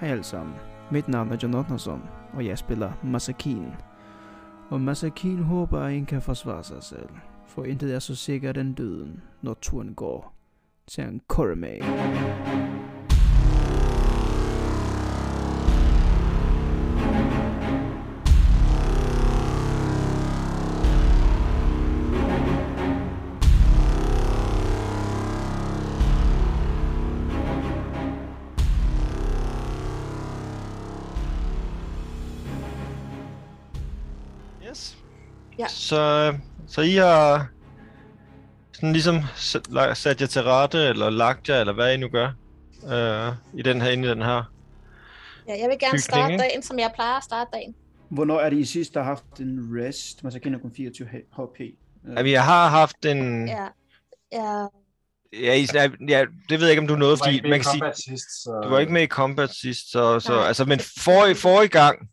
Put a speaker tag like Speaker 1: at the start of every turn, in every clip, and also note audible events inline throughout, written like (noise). Speaker 1: Hej allesammen. Mit navn er John Otterson, og jeg spiller Masakin. Og Masakin håber, at en kan forsvare sig selv. For intet er så sikkert end døden, når turen går til en Korame.
Speaker 2: Yes.
Speaker 3: Ja.
Speaker 2: Så, så I har sådan ligesom s- la- sat jer til rette, eller lagt jer, eller hvad I nu gør, øh, i den her, inde i den her.
Speaker 3: Ja, jeg vil gerne
Speaker 2: Bygning,
Speaker 3: starte
Speaker 2: ikke?
Speaker 3: dagen, som jeg plejer at starte dagen.
Speaker 4: Hvornår er det, I sidst har haft en rest? Man så kender kun 24 HP.
Speaker 2: Ja, vi har haft en... Ja,
Speaker 3: Ja. ja.
Speaker 2: ja, I, ja det ved jeg ikke, om du nåede,
Speaker 5: var
Speaker 2: fordi
Speaker 5: ikke med
Speaker 2: man
Speaker 5: i
Speaker 2: kan sige,
Speaker 5: combat sidst, så...
Speaker 2: du var ikke med i combat sidst, så, så
Speaker 3: Nej.
Speaker 2: altså, men forrige, forrige gang,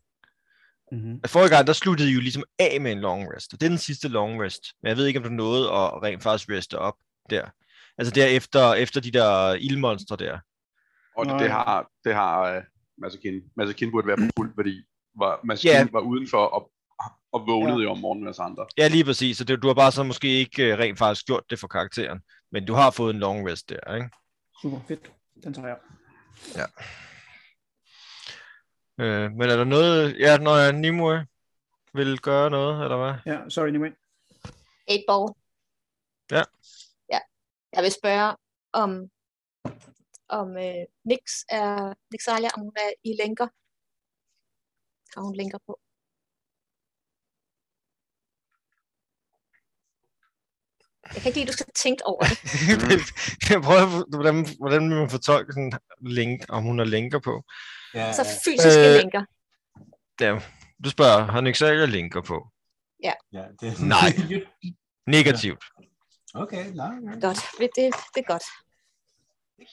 Speaker 4: Mm-hmm.
Speaker 2: forrige gang, der sluttede I jo ligesom af med en long rest, og det er den sidste long rest, men jeg ved ikke, om du nåede at rent faktisk reste op der. Altså derefter, efter de der ildmonstre der.
Speaker 6: Og det,
Speaker 4: Nå,
Speaker 6: det
Speaker 4: ja.
Speaker 6: har, det har uh, Masakin. Masakin burde være på fuld, fordi var, Masakin
Speaker 2: Ja.
Speaker 6: yeah. var udenfor og, og vågnede jo om morgenen med os andre.
Speaker 2: Ja, lige præcis. Så det, du har bare så måske ikke øh, rent faktisk gjort det for karakteren, men du har fået en long rest der, ikke?
Speaker 4: Super fedt. Den tager jeg.
Speaker 2: Øh, men er der noget, ja, når jeg Nimue vil gøre noget, eller (laughs) hvad?
Speaker 4: Ja, sorry anyway.
Speaker 3: Eight ball.
Speaker 2: Ja.
Speaker 3: Ja. Jeg vil spørge, om, om øh, Nix er, Nixalia, om hun er i lænker. Har hun lænker på? Jeg kan ikke lide, at du skal tænke over det.
Speaker 2: jeg prøver, at få- hvordan, hvordan vil man fortolke sådan link, om hun har linker på?
Speaker 5: Ja,
Speaker 2: (laughs)
Speaker 3: Så fysiske
Speaker 2: Øh,
Speaker 3: lænker.
Speaker 2: Du spørger, har Nixalia linker på?
Speaker 5: ja, det...
Speaker 2: Nej. Negativt.
Speaker 5: (laughs) okay, nej. nej.
Speaker 3: Godt. Det, det, det er godt.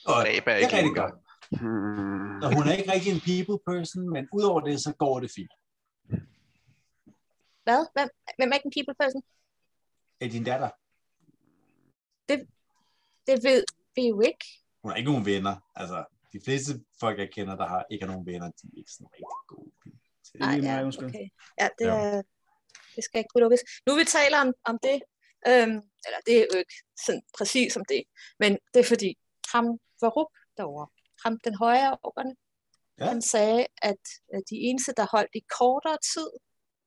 Speaker 5: Godt.
Speaker 6: Ræb er
Speaker 5: Det er
Speaker 6: ikke Hmm.
Speaker 5: rigtig
Speaker 6: længere.
Speaker 5: godt. Og hun er ikke rigtig en people person, men udover det, så går det fint.
Speaker 3: Hvad? Hvem, hvem er ikke en people person?
Speaker 5: Er din datter?
Speaker 3: Det ved vi jo ikke.
Speaker 5: Hun har ikke nogen venner. Altså, de fleste folk, jeg kender, der har ikke har nogen venner, de er ikke sådan rigtig gode. people til.
Speaker 4: Nej.
Speaker 3: Ah,
Speaker 4: lige
Speaker 3: ja,
Speaker 4: mig, undskyld.
Speaker 3: okay. Ja, det,
Speaker 2: Ja.
Speaker 3: Er, det skal ikke kunne lukkes. Nu vi taler om, om det, øhm, eller det er jo ikke sådan præcis som det, men det er fordi, ham Varup derovre, ham den højere af orkerne,
Speaker 5: Ja.
Speaker 3: ja. han sagde, at øh, de eneste, der holdt i kortere tid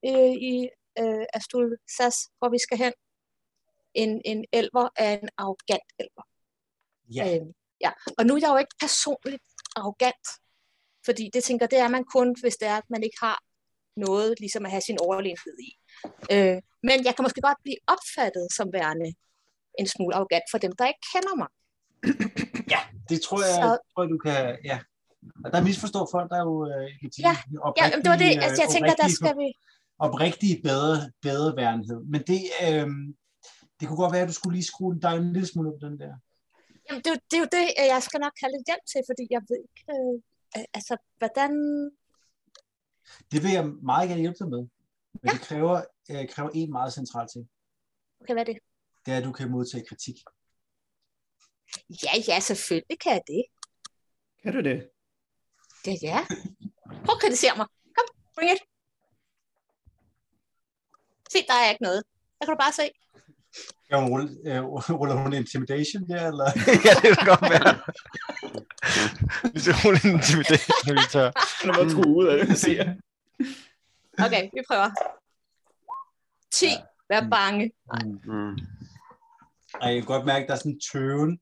Speaker 3: øh, i øh, Astul Sas, hvor vi skal hen, en, en elver er en arrogant elver.
Speaker 5: Ja,
Speaker 3: Øhm, ja. Og nu er jeg jo ikke personligt arrogant, fordi det tænker, det er man kun, hvis det er, at man ikke har noget ligesom at have sin overlegenhed i. Øh, men jeg kan måske godt blive opfattet som værende en smule arrogant for dem, der ikke kender mig.
Speaker 5: det tror jeg,
Speaker 3: Så-
Speaker 5: tror jeg, du kan... Ja. Og der misforstår folk, der er jo... Øh, i
Speaker 3: Ja,
Speaker 5: tiden
Speaker 3: Ja,
Speaker 5: oprigtige,
Speaker 3: det var det,
Speaker 5: øh,
Speaker 3: altså, jeg tænker, der
Speaker 5: oprigtige
Speaker 3: skal vi...
Speaker 5: oprigtige bedre, bedre værenhed. Men det, øh, det kunne godt være, at du skulle lige skrue dig en lille smule op den der.
Speaker 3: Jamen, det, er jo- det er jo det, øh, jeg skal nok have lidt hjælp til, fordi jeg ved ikke, øh, øh, altså, hvordan...
Speaker 5: Det vil jeg meget gerne hjælpe dig med. Men ja. det kræver, øh, kræver en meget central ting.
Speaker 3: Okay, hvad er det?
Speaker 5: Det er, at du kan modtage kritik.
Speaker 3: Ja, ja, selvfølgelig kan jeg det.
Speaker 4: Kan du det?
Speaker 3: Ja, ja. Prøv at kritisere mig. Kom, bring it. Se, der er ikke noget. Der kan du bare se.
Speaker 5: Ja, hun ruller, øh, ruller hun intimidation der, eller?
Speaker 2: ja, (laughs) det kan godt være. Ligesom hun er intimidation, vi tager.
Speaker 4: Han var truet ud af det, jeg siger.
Speaker 3: Okay, vi prøver. 10.
Speaker 5: Ja.
Speaker 3: Vær bange.
Speaker 5: Mm.
Speaker 6: Mm.
Speaker 5: Og jeg kan godt mærke, at der er sådan en tøven.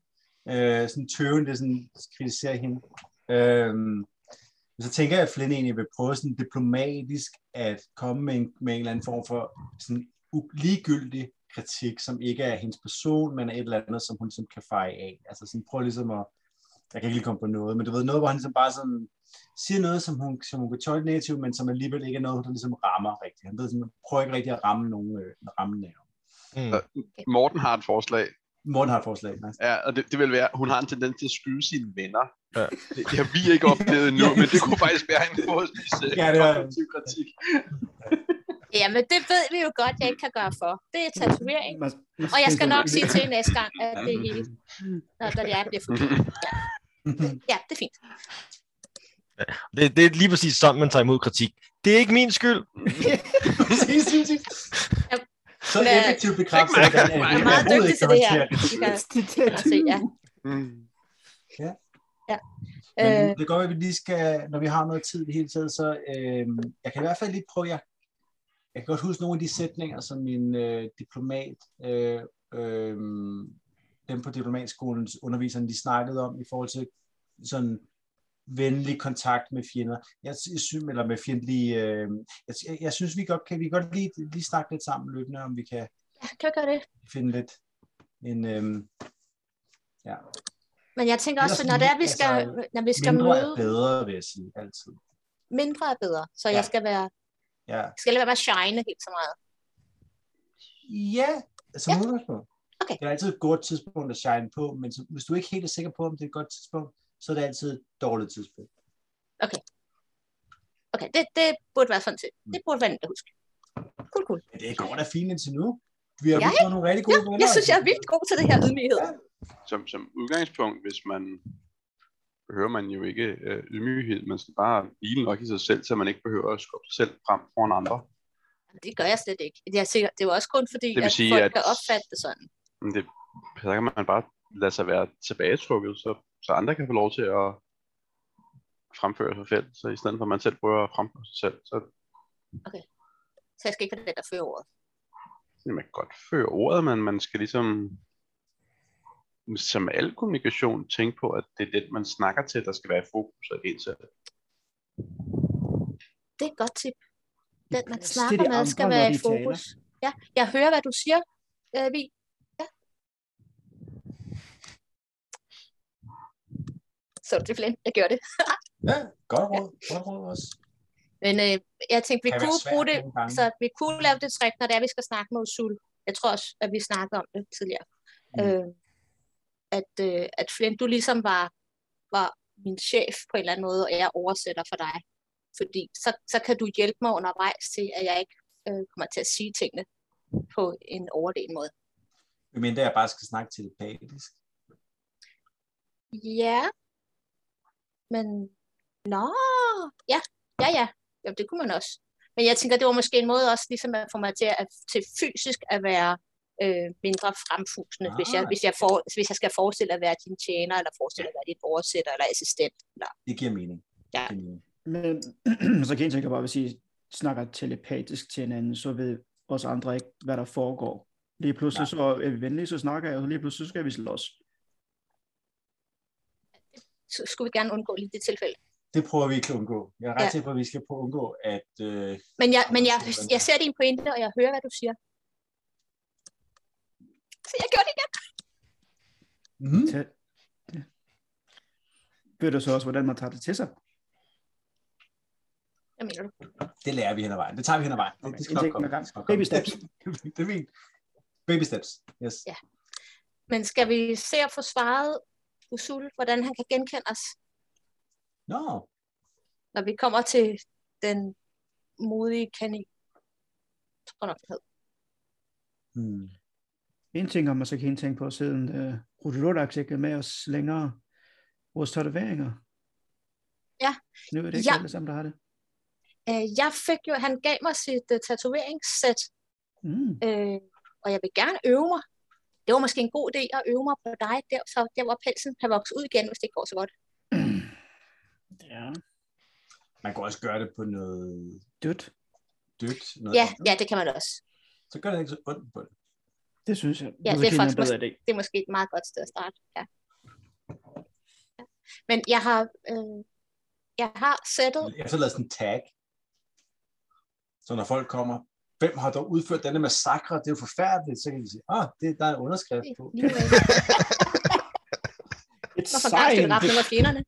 Speaker 5: Øh, sådan en tøven, det er sådan, kritiserer hende. Øh, men så tænker jeg, at Flynn egentlig vil prøve sådan diplomatisk at komme med en, med en eller anden form for sådan u- ligegyldig kritik, som ikke er hendes person, men er et eller andet, som hun sådan kan feje af. Altså sådan, prøv ligesom at, jeg kan ikke lige komme på noget, men du ved, noget, hvor han ligesom bare sådan siger noget, som hun, som hun kan tolke negativt, men som alligevel ikke er noget, der ligesom rammer rigtigt. Han ved, sådan, prøver ikke rigtig at ramme nogen øh, ramme nerve.
Speaker 2: Mm.
Speaker 6: Morten har et forslag,
Speaker 5: Morten har et forslag. Mads.
Speaker 6: ja, og det, det vil være, hun har en tendens til at skyde sine venner.
Speaker 2: Ja.
Speaker 6: Ja. Det, det har vi ikke oplevet endnu, men det kunne faktisk være en forholdsvis øh,
Speaker 5: Ja, det var-
Speaker 6: konstruktiv kritik.
Speaker 3: Jamen, det ved vi jo godt, jeg ikke kan gøre for. Det er tatovering.
Speaker 4: Mas-
Speaker 5: Oh
Speaker 3: Og jeg skal nok
Speaker 4: (laughs)
Speaker 3: sige til næste gang, at det hele, når, når det er, det er forkert. Ja, det er fint.
Speaker 2: Det, det er lige præcis sådan, man tager imod kritik. Det er ikke min skyld.
Speaker 5: præcis, præcis.
Speaker 3: Jamen,
Speaker 5: Så
Speaker 3: men-
Speaker 5: effektivt bekræftet,
Speaker 6: Jeg
Speaker 5: at
Speaker 6: mærker,
Speaker 5: han
Speaker 6: jeg
Speaker 5: er
Speaker 3: er meget dygtig til det her. I kan se, ja.
Speaker 6: Mm.
Speaker 5: Men
Speaker 3: Øh,
Speaker 5: det kan godt være, at vi lige skal, når vi har noget tid i det hele taget, så øh, jeg kan i hvert fald lige prøve, jeg, jeg kan godt huske nogle af de sætninger, som min øh, diplomat, øh, øh, dem på diplomatskolens underviserne, de snakkede om i forhold til sådan venlig kontakt med fjender. Jeg, sy- jeg synes, eller med fjendtlige, øh, jeg, sy- jeg, synes, vi godt kan, vi kan godt lige, lige snakke lidt sammen løbende, om vi kan
Speaker 3: ja, kan vi gøre det?
Speaker 5: finde lidt en, øh, ja,
Speaker 3: Men jeg tænker også,
Speaker 5: Ellers
Speaker 3: når det er, vi
Speaker 5: altså,
Speaker 3: skal, når vi skal
Speaker 5: mindre
Speaker 3: møde,
Speaker 5: er bedre, vil jeg sige, altid.
Speaker 3: mindre er bedre. Så
Speaker 5: Ja.
Speaker 3: jeg skal være,
Speaker 5: Ja.
Speaker 3: jeg skal lade være med at shine helt så meget.
Speaker 5: Ja, som ja. udgangspunkt.
Speaker 3: Okay.
Speaker 5: Det er altid et godt tidspunkt at shine på, men så, hvis du ikke helt er sikker på, om det er et godt tidspunkt, så er det altid et dårligt tidspunkt.
Speaker 3: Okay, det, det burde være sådan til.
Speaker 6: Mm.
Speaker 3: Det burde være nemt at huske. Cool, cool.
Speaker 5: Men det går da fint indtil nu. Vi har
Speaker 3: Ja,
Speaker 5: ja, fået nogle rigtig gode altså. venner.
Speaker 3: Jeg synes, jeg er vildt god til det her ydmyghed.
Speaker 6: Som, som udgangspunkt, hvis man behøver man jo ikke øh, ydmyghed, man skal bare hvile nok i sig selv, så man ikke behøver at skubbe sig selv frem foran andre.
Speaker 3: Det gør jeg slet ikke. Jeg siger, det er jo også kun fordi,
Speaker 6: Det vil
Speaker 3: at
Speaker 6: sige,
Speaker 3: folk
Speaker 6: at-
Speaker 3: kan opfatte det sådan.
Speaker 6: Men det, så kan man bare lade sig være tilbagetrukket, så, så andre kan få lov til at fremføre sig selv. Så i stedet for, at man selv prøver at fremføre sig selv, så
Speaker 3: Så jeg skal ikke være den, der fører ordet.
Speaker 6: Jamen, man kan godt føre ordet, men man skal ligesom, som med al kommunikation, tænke på, at det er den, man snakker til, der skal være i fokus og en selv.
Speaker 3: Det er et godt tip. Den, man
Speaker 4: Det er
Speaker 3: snakker
Speaker 4: de
Speaker 3: med,
Speaker 4: andre,
Speaker 3: skal
Speaker 4: når
Speaker 3: være
Speaker 4: de
Speaker 3: i fokus. Ja, jeg hører, hvad du siger, øh, Vi. Ja. Så det er flint. Jeg gør det.
Speaker 5: Ja, godt råd. Godt råd også.
Speaker 3: Men øh, jeg tænkte, vi
Speaker 5: Kan være
Speaker 3: kunne
Speaker 5: svært
Speaker 3: bruge det,
Speaker 5: nogle gange.
Speaker 3: så vi kunne lave det trick, når det er, vi skal snakke med Usul. Jeg tror også, at vi snakkede om det tidligere.
Speaker 5: Mm.
Speaker 3: Mm. Øh, at, øh, at Flint, du ligesom var, var min chef på en eller anden måde, og jeg oversætter for dig. Fordi så, så kan du hjælpe mig undervejs til, at jeg ikke øh, kommer til at sige tingene på en overlegen måde.
Speaker 5: Men det jeg bare skal snakke telepatisk.
Speaker 3: Ja. Men, nå, ja, ja, ja. Jamen, det kunne man også. Men jeg tænker, det var måske en måde også ligesom at få mig til, at, til fysisk at være øh, mindre fremfusende, ah, hvis, jeg,
Speaker 5: Ah.
Speaker 3: hvis, jeg for, hvis jeg skal forestille at være din tjener, eller forestille at være din oversætter eller assistent. Eller,
Speaker 5: Det giver mening.
Speaker 3: Ja.
Speaker 5: Det giver mening.
Speaker 4: Men (clears throat) så kan jeg tænke bare, hvis I snakker telepatisk til hinanden, så ved os andre ikke, hvad der foregår. Lige pludselig så er vi venlige, så snakker jeg, og lige pludselig så skal vi slås.
Speaker 3: så skulle vi gerne undgå lige det tilfælde.
Speaker 5: Det prøver vi ikke at undgå. Jeg er ret
Speaker 3: Ja.
Speaker 5: sikker på, at vi skal prøve at undgå, at... Øh,
Speaker 3: Men jeg, men jeg,
Speaker 5: Absolut.
Speaker 3: jeg ser din pointe, og jeg hører, hvad du siger. Så jeg gjorde det igen.
Speaker 5: mm,
Speaker 4: Til... Ja. Ved du så også, hvordan man tager det til sig?
Speaker 3: Hvad mener du?
Speaker 5: det lærer vi hen ad vejen. Det tager vi hen ad vejen. Det,
Speaker 4: Okay,
Speaker 5: det skal
Speaker 4: en
Speaker 5: nok
Speaker 4: ting
Speaker 5: komme.
Speaker 4: ad gangen.
Speaker 5: Det skal nok
Speaker 4: Baby
Speaker 5: komme.
Speaker 4: steps.
Speaker 5: (laughs) det er fint. Baby steps. Yes.
Speaker 3: Ja. Men skal vi se at få svaret Usul, hvordan han kan genkende os?
Speaker 5: Nå, no.
Speaker 3: når vi kommer til den modige kanin. Tror nok, det hed.
Speaker 5: hmm.
Speaker 4: En ting, om man så kan en tænke på, siden uh, Rudelodax ikke er med os længere, vores tatoveringer.
Speaker 3: Ja.
Speaker 4: Nu er det ikke
Speaker 3: Ja.
Speaker 4: ja. alle sammen, der har det.
Speaker 3: Øh, jeg fik jo, han gav mig sit uh, tatoveringssæt,
Speaker 4: Mm.
Speaker 3: øh, og jeg vil gerne øve mig. Det var måske en god idé at øve mig på dig, der, så der hvor pelsen kan vokse ud igen, hvis det ikke går så godt.
Speaker 4: Ja.
Speaker 5: Man kan også gøre det på noget
Speaker 4: Dødt.
Speaker 5: dødt. Noget
Speaker 3: Ja,
Speaker 5: andet,
Speaker 3: ja, det kan man også.
Speaker 5: Så gør det ikke så ondt på det.
Speaker 4: Det synes jeg.
Speaker 3: Ja,
Speaker 4: Måske
Speaker 3: det er faktisk
Speaker 4: en bedre idé.
Speaker 3: Det er måske et meget godt sted at starte. Ja. Ja. Men jeg har, øh, jeg har sættet,
Speaker 5: Jeg har så lavet sådan en tag. Så når folk kommer, hvem har dog udført denne massakre? Det er jo forfærdeligt. Så kan de sige, ah, det, der er en underskrift
Speaker 3: (laughs)
Speaker 5: på.
Speaker 4: Et
Speaker 3: hvorfor gang skal vi rappe nogle af fjenderne?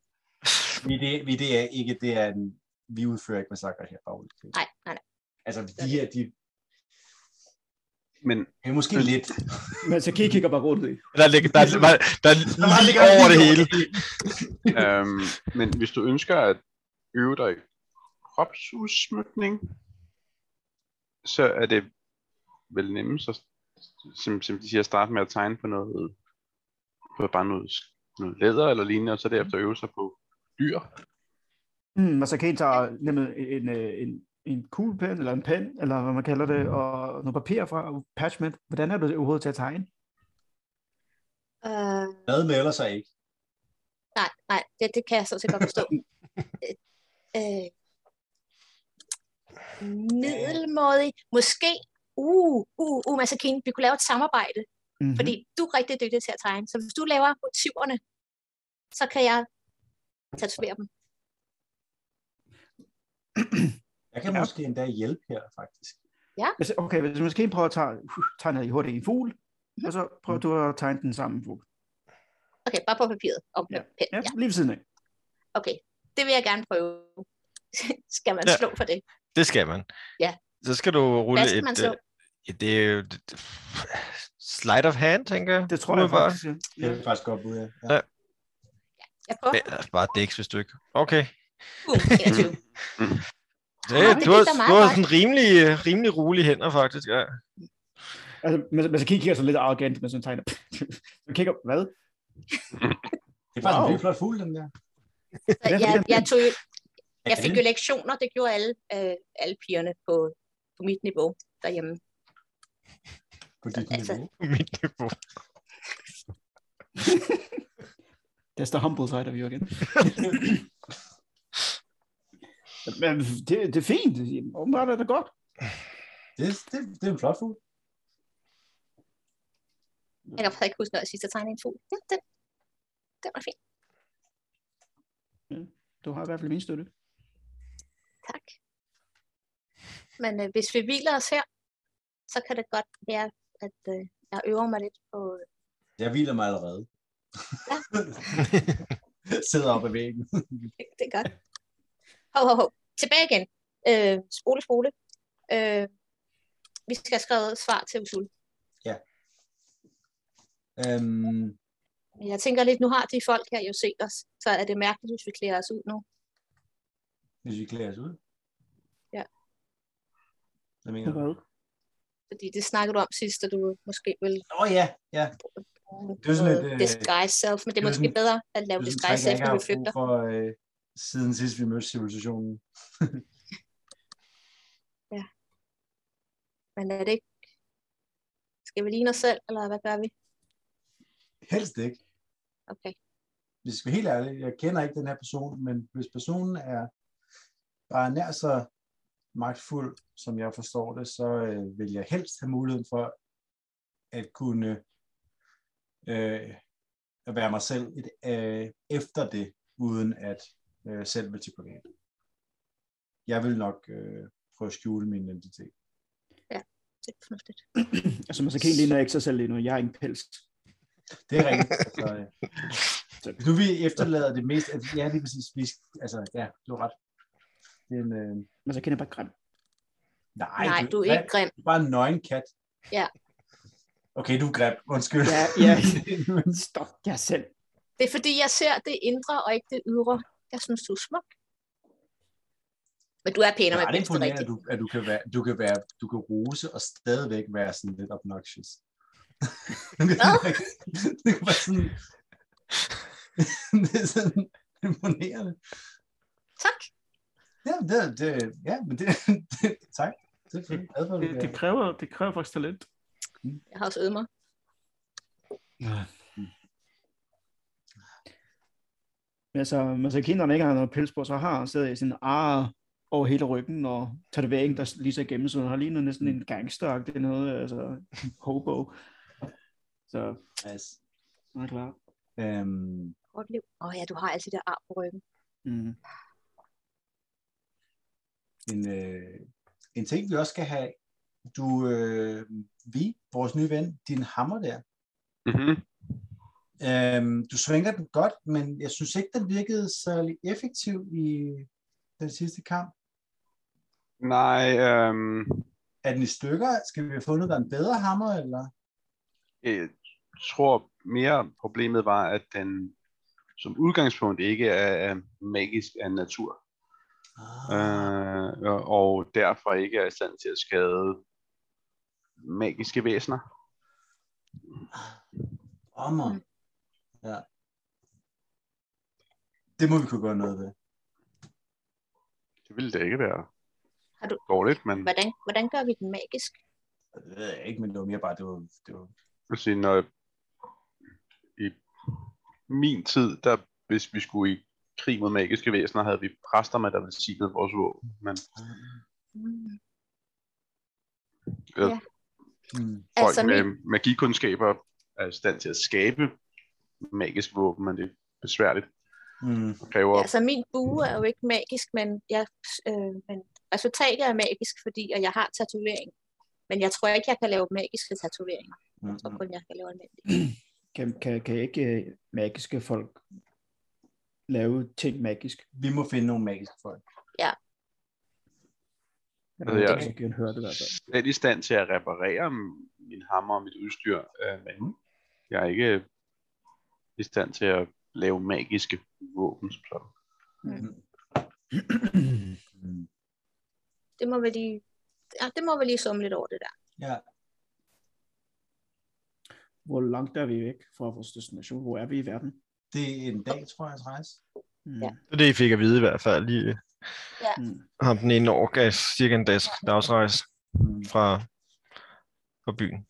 Speaker 5: Vi, det, vi, det er ikke, det er en, vi udfører ikke massakre her, bare roligt.
Speaker 3: Nej, nej, nej.
Speaker 5: Altså, de her, de
Speaker 6: Men
Speaker 5: er måske lidt.
Speaker 4: Men så kigger bare rundt i.
Speaker 2: Der, ligger, der, der, der, der ligger over det hele.
Speaker 6: øhm, men hvis du ønsker at øve dig i kropsudsmykning, så er det vel nemmest at, som, som de siger, starte med at tegne på noget, på bare noget, noget læder eller lignende, og så derefter øve sig på dyr.
Speaker 4: Mm, altså Kane tager nemlig en, øh, en, en kuglepen, eller en pen, eller hvad man kalder det, og noget papir fra Parchment. Hvordan er du overhovedet til at tegne?
Speaker 3: Øh,
Speaker 5: Hvad melder sig ikke?
Speaker 3: nej, nej, det, det kan jeg sådan set godt
Speaker 2: (laughs)
Speaker 3: forstå. Øh, øh, middelmådig, måske, uh, uh, uh, Mads Kane, vi kunne lave et samarbejde,
Speaker 2: Mhm.
Speaker 4: Mm-hmm.
Speaker 3: fordi du er rigtig dygtig til at tegne, så hvis du laver motiverne, så kan jeg tatovere dem.
Speaker 5: Jeg kan
Speaker 4: Ja.
Speaker 5: ja. måske endda hjælpe her, faktisk.
Speaker 4: Hvis, okay, hvis man skal prøve at tage, uh, tegne i hurtigt en fugl, og så prøver du at tegne den samme fugl.
Speaker 3: Okay, bare på papiret. Om ja. Pen.
Speaker 4: Ja,
Speaker 3: Ja.
Speaker 4: lige ved siden af.
Speaker 3: Okay, det vil jeg gerne prøve. (laughs) Skal man
Speaker 2: Ja.
Speaker 3: slå for det?
Speaker 2: Det skal man.
Speaker 3: Ja.
Speaker 2: Så skal du rulle
Speaker 3: Hvad skal man
Speaker 2: et...
Speaker 3: slå?
Speaker 2: øh, Ja, det er jo... det- Slide of hand, tænker jeg.
Speaker 4: Det tror jeg
Speaker 2: Umiddelbart.
Speaker 4: faktisk. ja.
Speaker 5: Det er faktisk godt bud, ja.
Speaker 2: Ja.
Speaker 5: ja.
Speaker 3: Jeg prøver. Uh,
Speaker 2: Det er altså bare dæks, hvis du ikke... Okay.
Speaker 3: Boom,
Speaker 2: (laughs)
Speaker 3: 21.
Speaker 2: Det,
Speaker 3: Nå, det
Speaker 2: du, har,
Speaker 3: gik da meget
Speaker 2: du har
Speaker 3: godt.
Speaker 2: sådan rimelig, rimelig rolige hænder, faktisk. Ja. (laughs)
Speaker 4: Altså, men, men så kigger jeg så lidt arrogant, men så tegner. (laughs) så kigger, hvad?
Speaker 5: Det er faktisk wow.
Speaker 4: Wow.
Speaker 5: en vildt flot fugl, den der.
Speaker 3: Så jeg, jeg, tog, jo- jeg
Speaker 5: Ja,
Speaker 3: fik jo
Speaker 5: det-
Speaker 3: lektioner, det gjorde alle, øh, alle pigerne på, på mit niveau derhjemme.
Speaker 5: På dit
Speaker 3: altså-
Speaker 5: niveau.
Speaker 2: Mit niveau.
Speaker 4: That's the humble side of you (laughs) again. men det, det er fint. Åbenbart er det godt.
Speaker 5: Det, det, det er en flot fugl.
Speaker 3: Jeg kan faktisk ikke huske, når jeg sidst har tegnet en fugl. Ja, den, den var fin.
Speaker 4: Du har i hvert fald min støtte.
Speaker 3: Tak. Men øh, hvis vi hviler os her, så kan det godt være, at øh, jeg øver mig lidt på...
Speaker 5: Jeg hviler mig allerede.
Speaker 3: Ja.
Speaker 5: Sidder oppe af væggen.
Speaker 3: Det, øh, det er godt. Hov, hov, hov. Tilbage igen. Øh, spole, spole. Øh, vi skal have skrevet svar til Usul.
Speaker 5: øhm,
Speaker 3: Men jeg tænker lidt, nu har de folk her jo set os, så er det mærkeligt, hvis vi klæder os ud nu.
Speaker 5: hvis vi klæder os ud.
Speaker 3: Ja.
Speaker 5: Hvad mener du?
Speaker 3: Fordi det snakkede du om sidst, at du måske ville
Speaker 5: Åh oh, ja, ja.
Speaker 3: bruge
Speaker 5: Det er sådan
Speaker 3: noget
Speaker 5: lidt, øh,
Speaker 3: disguise self, men det er
Speaker 5: det er
Speaker 3: måske
Speaker 5: sådan-
Speaker 3: bedre at lave
Speaker 5: Det er sådan en
Speaker 3: disguise
Speaker 5: Ligesom træk, jeg
Speaker 3: self,
Speaker 5: ikke
Speaker 3: når
Speaker 5: har
Speaker 3: vi
Speaker 5: haft brug
Speaker 3: flygter.
Speaker 5: for, øh, siden sidst vi mødte civilisationen.
Speaker 3: Men er det ikke... Skal vi ligne os selv, eller hvad gør vi?
Speaker 5: Helst ikke.
Speaker 3: Okay.
Speaker 5: hvis vi er helt ærlige, jeg kender ikke den her person, men hvis personen er bare nær så magtfuld, som jeg forstår det, så øh, vil jeg helst have muligheden for at kunne øh, at være mig selv et, øh, efter det, uden at øh, selv vil til privat. Jeg vil nok øh, prøve at skjule min identitet.
Speaker 3: Det er fornuftigt.
Speaker 4: Altså, man så kan ligner ikke sig selv lige nu. Jeg er en pels.
Speaker 5: Det er rigtigt. Så, øh, så, hvis nu vi efterlader det mest, at ja, lige præcis, vi, altså ja, du har ret. Det er en, øh,
Speaker 4: Men så kan jeg bare grim.
Speaker 5: Nej,
Speaker 3: Nej, du er
Speaker 5: hvad?
Speaker 3: ikke grim.
Speaker 5: Du er bare en nøgen kat.
Speaker 3: Ja.
Speaker 5: Okay, du er grim. Undskyld.
Speaker 4: Ja,
Speaker 5: (laughs)
Speaker 4: ja.
Speaker 5: Men
Speaker 4: Stop jer selv.
Speaker 3: Det er fordi, jeg ser det indre og ikke det ydre. Jeg synes, du er smuk. Men du er pænere
Speaker 5: det
Speaker 3: med
Speaker 5: er ret
Speaker 3: det er
Speaker 5: imponerende, at
Speaker 3: rigtigt.
Speaker 5: du, at du, kan være, du, kan være, du kan rose og stadigvæk være sådan lidt obnoxious. (laughs)
Speaker 3: Hvad?
Speaker 5: det kan være sådan... det er sådan imponerende.
Speaker 3: Tak.
Speaker 5: Ja, det, det, ja men det, (laughs) det tak. Det er fint. Glad for, at du kan-
Speaker 4: kræver, det kræver faktisk talent.
Speaker 3: Jeg har også øvet mig.
Speaker 4: Men altså, men så kinderne ikke har noget pels på, så har han stadig sin ar over hele ryggen, og tatoveringen, der lige så igennem, så han har lige noget næsten en gangstark, det er noget, altså, hobo. Så,
Speaker 5: Altså,
Speaker 4: han er klar.
Speaker 5: øhm,
Speaker 3: Godt liv. Åh ja, du har altid der ar på ryggen.
Speaker 4: Mm.
Speaker 5: en, øh, en ting, vi også skal have. Du, øh, vi, vores nye ven, din hammer der.
Speaker 6: Mm-hmm.
Speaker 5: Øh, du svinger den godt, men jeg synes ikke, den virkede særlig effektiv i den sidste kamp.
Speaker 6: Nej, øhm,
Speaker 5: Er den i stykker? Skal vi have fundet dig en bedre hammer, eller?
Speaker 6: jeg tror mere problemet var, at den som udgangspunkt ikke er er magisk af natur. Ah. øh, og- og derfor ikke er i stand til at skade magiske væsener.
Speaker 5: Ommer. Ja. Det må vi kunne gøre noget ved.
Speaker 6: Det ville da ikke være
Speaker 3: Har du-
Speaker 6: dårligt, men jeg
Speaker 3: Hvordan, hvordan gør vi den magisk?
Speaker 5: Det ved jeg ikke, men det var mere bare, det var, det var
Speaker 6: vil sige, når i min tid, der, hvis vi skulle i krig mod magiske væsener, havde vi præster med, der velsignede vores våben. Men
Speaker 3: Mm.
Speaker 6: øh,
Speaker 3: Ja.
Speaker 5: hmm,
Speaker 6: folk
Speaker 3: Altså,
Speaker 6: med
Speaker 3: min-
Speaker 6: magikundskaber er i stand til at skabe magisk våben, men det er besværligt
Speaker 5: hmm,
Speaker 6: og kræver
Speaker 3: Altså, min bue er jo ikke magisk, men, jeg, øh, men resultatet er magisk, fordi og jeg har tatovering. Men jeg tror ikke, jeg kan lave magiske tatoveringer.
Speaker 5: hmm,
Speaker 3: Jeg tror kun, jeg kan lave almindelige.
Speaker 4: Kan, kan, kan ikke øh, magiske folk lave ting magisk?
Speaker 5: Vi må finde nogle magiske folk.
Speaker 4: Eller,
Speaker 6: Altså, jeg-
Speaker 4: det kan jeg høre det i hvert fald.
Speaker 6: slet i stand til at reparere min hammer og mit udstyr, øh, men jeg er ikke øh, i stand til at lave magiske våben. som sådan.
Speaker 5: Mm.
Speaker 3: Det må vi lige, ja, det må vi lige summe lidt over det der.
Speaker 5: ja,
Speaker 4: Hvor langt er vi væk fra vores destination? Hvor er vi i verden?
Speaker 5: det er en dag, tror jeg, rejse.
Speaker 4: Mm.
Speaker 3: Ja.
Speaker 2: Det er det, I fik at vide i hvert fald. Lige øh,
Speaker 4: Mm.
Speaker 2: ham den ene år gav cirka en dags, dagsrejse
Speaker 5: Mm.
Speaker 2: fra, fra byen.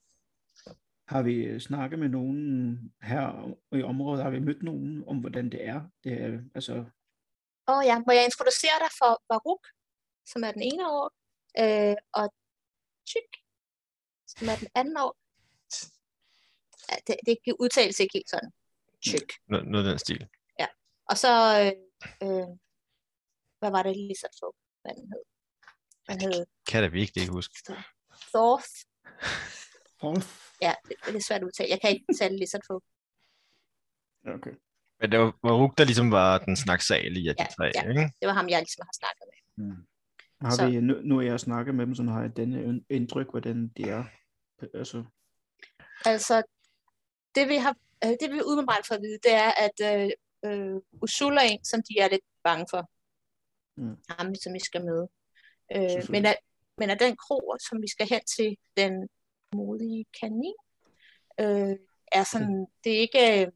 Speaker 4: Har vi øh, snakket med nogen her i området? Har vi mødt nogen om, hvordan det er? Det er altså,
Speaker 3: Åh ja, må jeg introducere dig for Baruk, som er den ene år, øh, og Tyk, som er den anden år. Ja, det, det kan udtales ikke helt sådan. Tyk.
Speaker 2: Noget, noget af den stil.
Speaker 3: Og så, øh, øh, hvad var det lige så for, hvad den hed? Den hed
Speaker 2: Kan det virkelig ikke huske.
Speaker 3: Thorf.
Speaker 4: Rolf?
Speaker 3: Ja, det, det er svært at udtale. Jeg kan ikke tale lige så for.
Speaker 4: Okay.
Speaker 2: Men det var, var Ruk, der ligesom var den snaksalige af de
Speaker 3: Ja,
Speaker 2: tre,
Speaker 3: ja.
Speaker 2: ikke?
Speaker 3: Det var ham, jeg ligesom har snakket med.
Speaker 5: (laughs) Mm.
Speaker 4: Har
Speaker 3: Så-
Speaker 4: så... vi, nu, nu er jeg snakket med dem, så har jeg denne ind- indtryk, hvordan de er. Altså,
Speaker 3: Altså, det vi har, øh, det vi umiddelbart får at vide, det er, at øh, øh, Usul er en, som de er lidt bange for.
Speaker 4: Mm.
Speaker 3: Mm. Ham, som vi skal møde. Øh, men,
Speaker 4: Selvfølgelig.
Speaker 3: at, men at den krog, som vi skal hen til, den modige kanin, øh, er sådan, det er ikke, øh,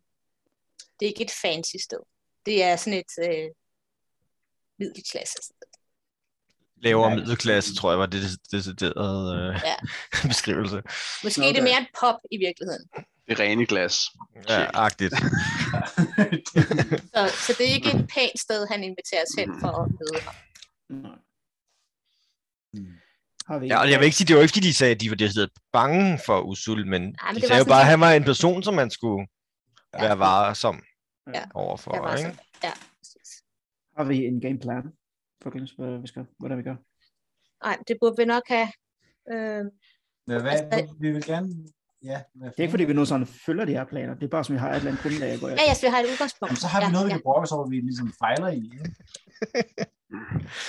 Speaker 3: det er ikke et fancy sted. Det er sådan et øh, middelklasse sted.
Speaker 2: Lavere
Speaker 5: Ja.
Speaker 2: middelklasse, tror jeg, var det des- deciderede øh,
Speaker 3: Ja.
Speaker 2: (laughs) beskrivelse.
Speaker 3: Måske okay. er det
Speaker 5: Okay.
Speaker 3: mere en pop i virkeligheden.
Speaker 6: Det er rene glas.
Speaker 2: Ja, agtigt.
Speaker 3: Så, så det er ikke et pænt sted, han inviterer os hen for at møde ham.
Speaker 4: nej.
Speaker 5: Mm.
Speaker 4: Har vi
Speaker 2: Ja, og jeg vil ikke sige, det var ikke, fordi de sagde, at de var decideret bange for Usul, men,
Speaker 3: Nej, men
Speaker 2: de
Speaker 3: det var
Speaker 2: sagde jo
Speaker 3: sådan
Speaker 2: bare, at
Speaker 3: lidt-
Speaker 2: han var en person, som man skulle ja. være varsom
Speaker 4: Ja.
Speaker 2: ja. overfor.
Speaker 3: Jeg var
Speaker 2: ikke?
Speaker 3: sådan, ja, præcis.
Speaker 4: Har vi en gameplan? For hvad vi skal, hvordan vi gør?
Speaker 3: Nej, det burde vi nok have. Øh,
Speaker 5: Hvad, hvad,
Speaker 3: Altså-
Speaker 5: vi vil gerne... Ja, hvad
Speaker 4: Det er ikke, fordi vi nu sådan følger de her planer. Det er bare, som vi har et eller andet grundlag at gå
Speaker 3: ja,
Speaker 4: efter.
Speaker 3: ja, så vi har et udgangspunkt.
Speaker 5: Jamen, så har vi
Speaker 3: ja,
Speaker 5: noget, vi
Speaker 3: ja.
Speaker 5: kan brokke os over, vi ligesom fejler i.
Speaker 3: (laughs)
Speaker 5: ikke?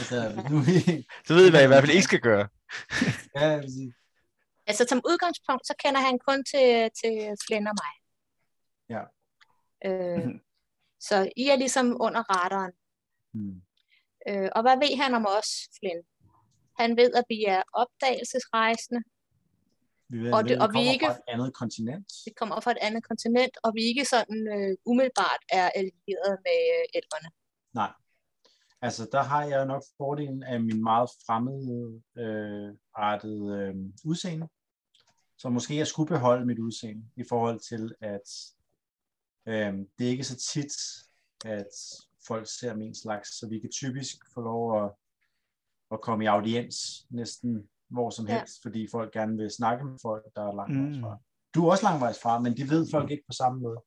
Speaker 5: altså, nu, (laughs)
Speaker 2: Så ved I, hvad I i hvert fald ikke skal gøre.
Speaker 5: ja, jeg vil sige,
Speaker 3: Altså, som udgangspunkt, så kender han kun til, til Flynn og mig.
Speaker 5: Ja.
Speaker 3: Øh,
Speaker 4: Mhm.
Speaker 3: så I er ligesom under radaren.
Speaker 5: mm,
Speaker 3: Øh, og hvad ved han om os, Flynn? Han ved, at vi er opdagelsesrejsende.
Speaker 5: vi ved,
Speaker 3: Og
Speaker 5: ved,
Speaker 3: det- og vi
Speaker 5: kommer
Speaker 3: ikke-
Speaker 5: fra et andet kontinent.
Speaker 3: Vi kommer fra et andet kontinent, og vi ikke sådan øh, umiddelbart er allieret med øh, elverne.
Speaker 5: Altså, der har jeg nok fordelen af min meget fremmede øh, artede øh, udseende. Så måske jeg skulle beholde mit udseende i forhold til, at øh, det er ikke så tit, at folk ser min slags, så vi kan typisk få lov at, at komme i audiens næsten hvor som
Speaker 3: Ja.
Speaker 5: helst, ja. fordi folk gerne vil snakke med folk, der er langvejs
Speaker 4: Mm.
Speaker 5: fra. Du er også langvejs fra, men det ved folk ikke på samme måde.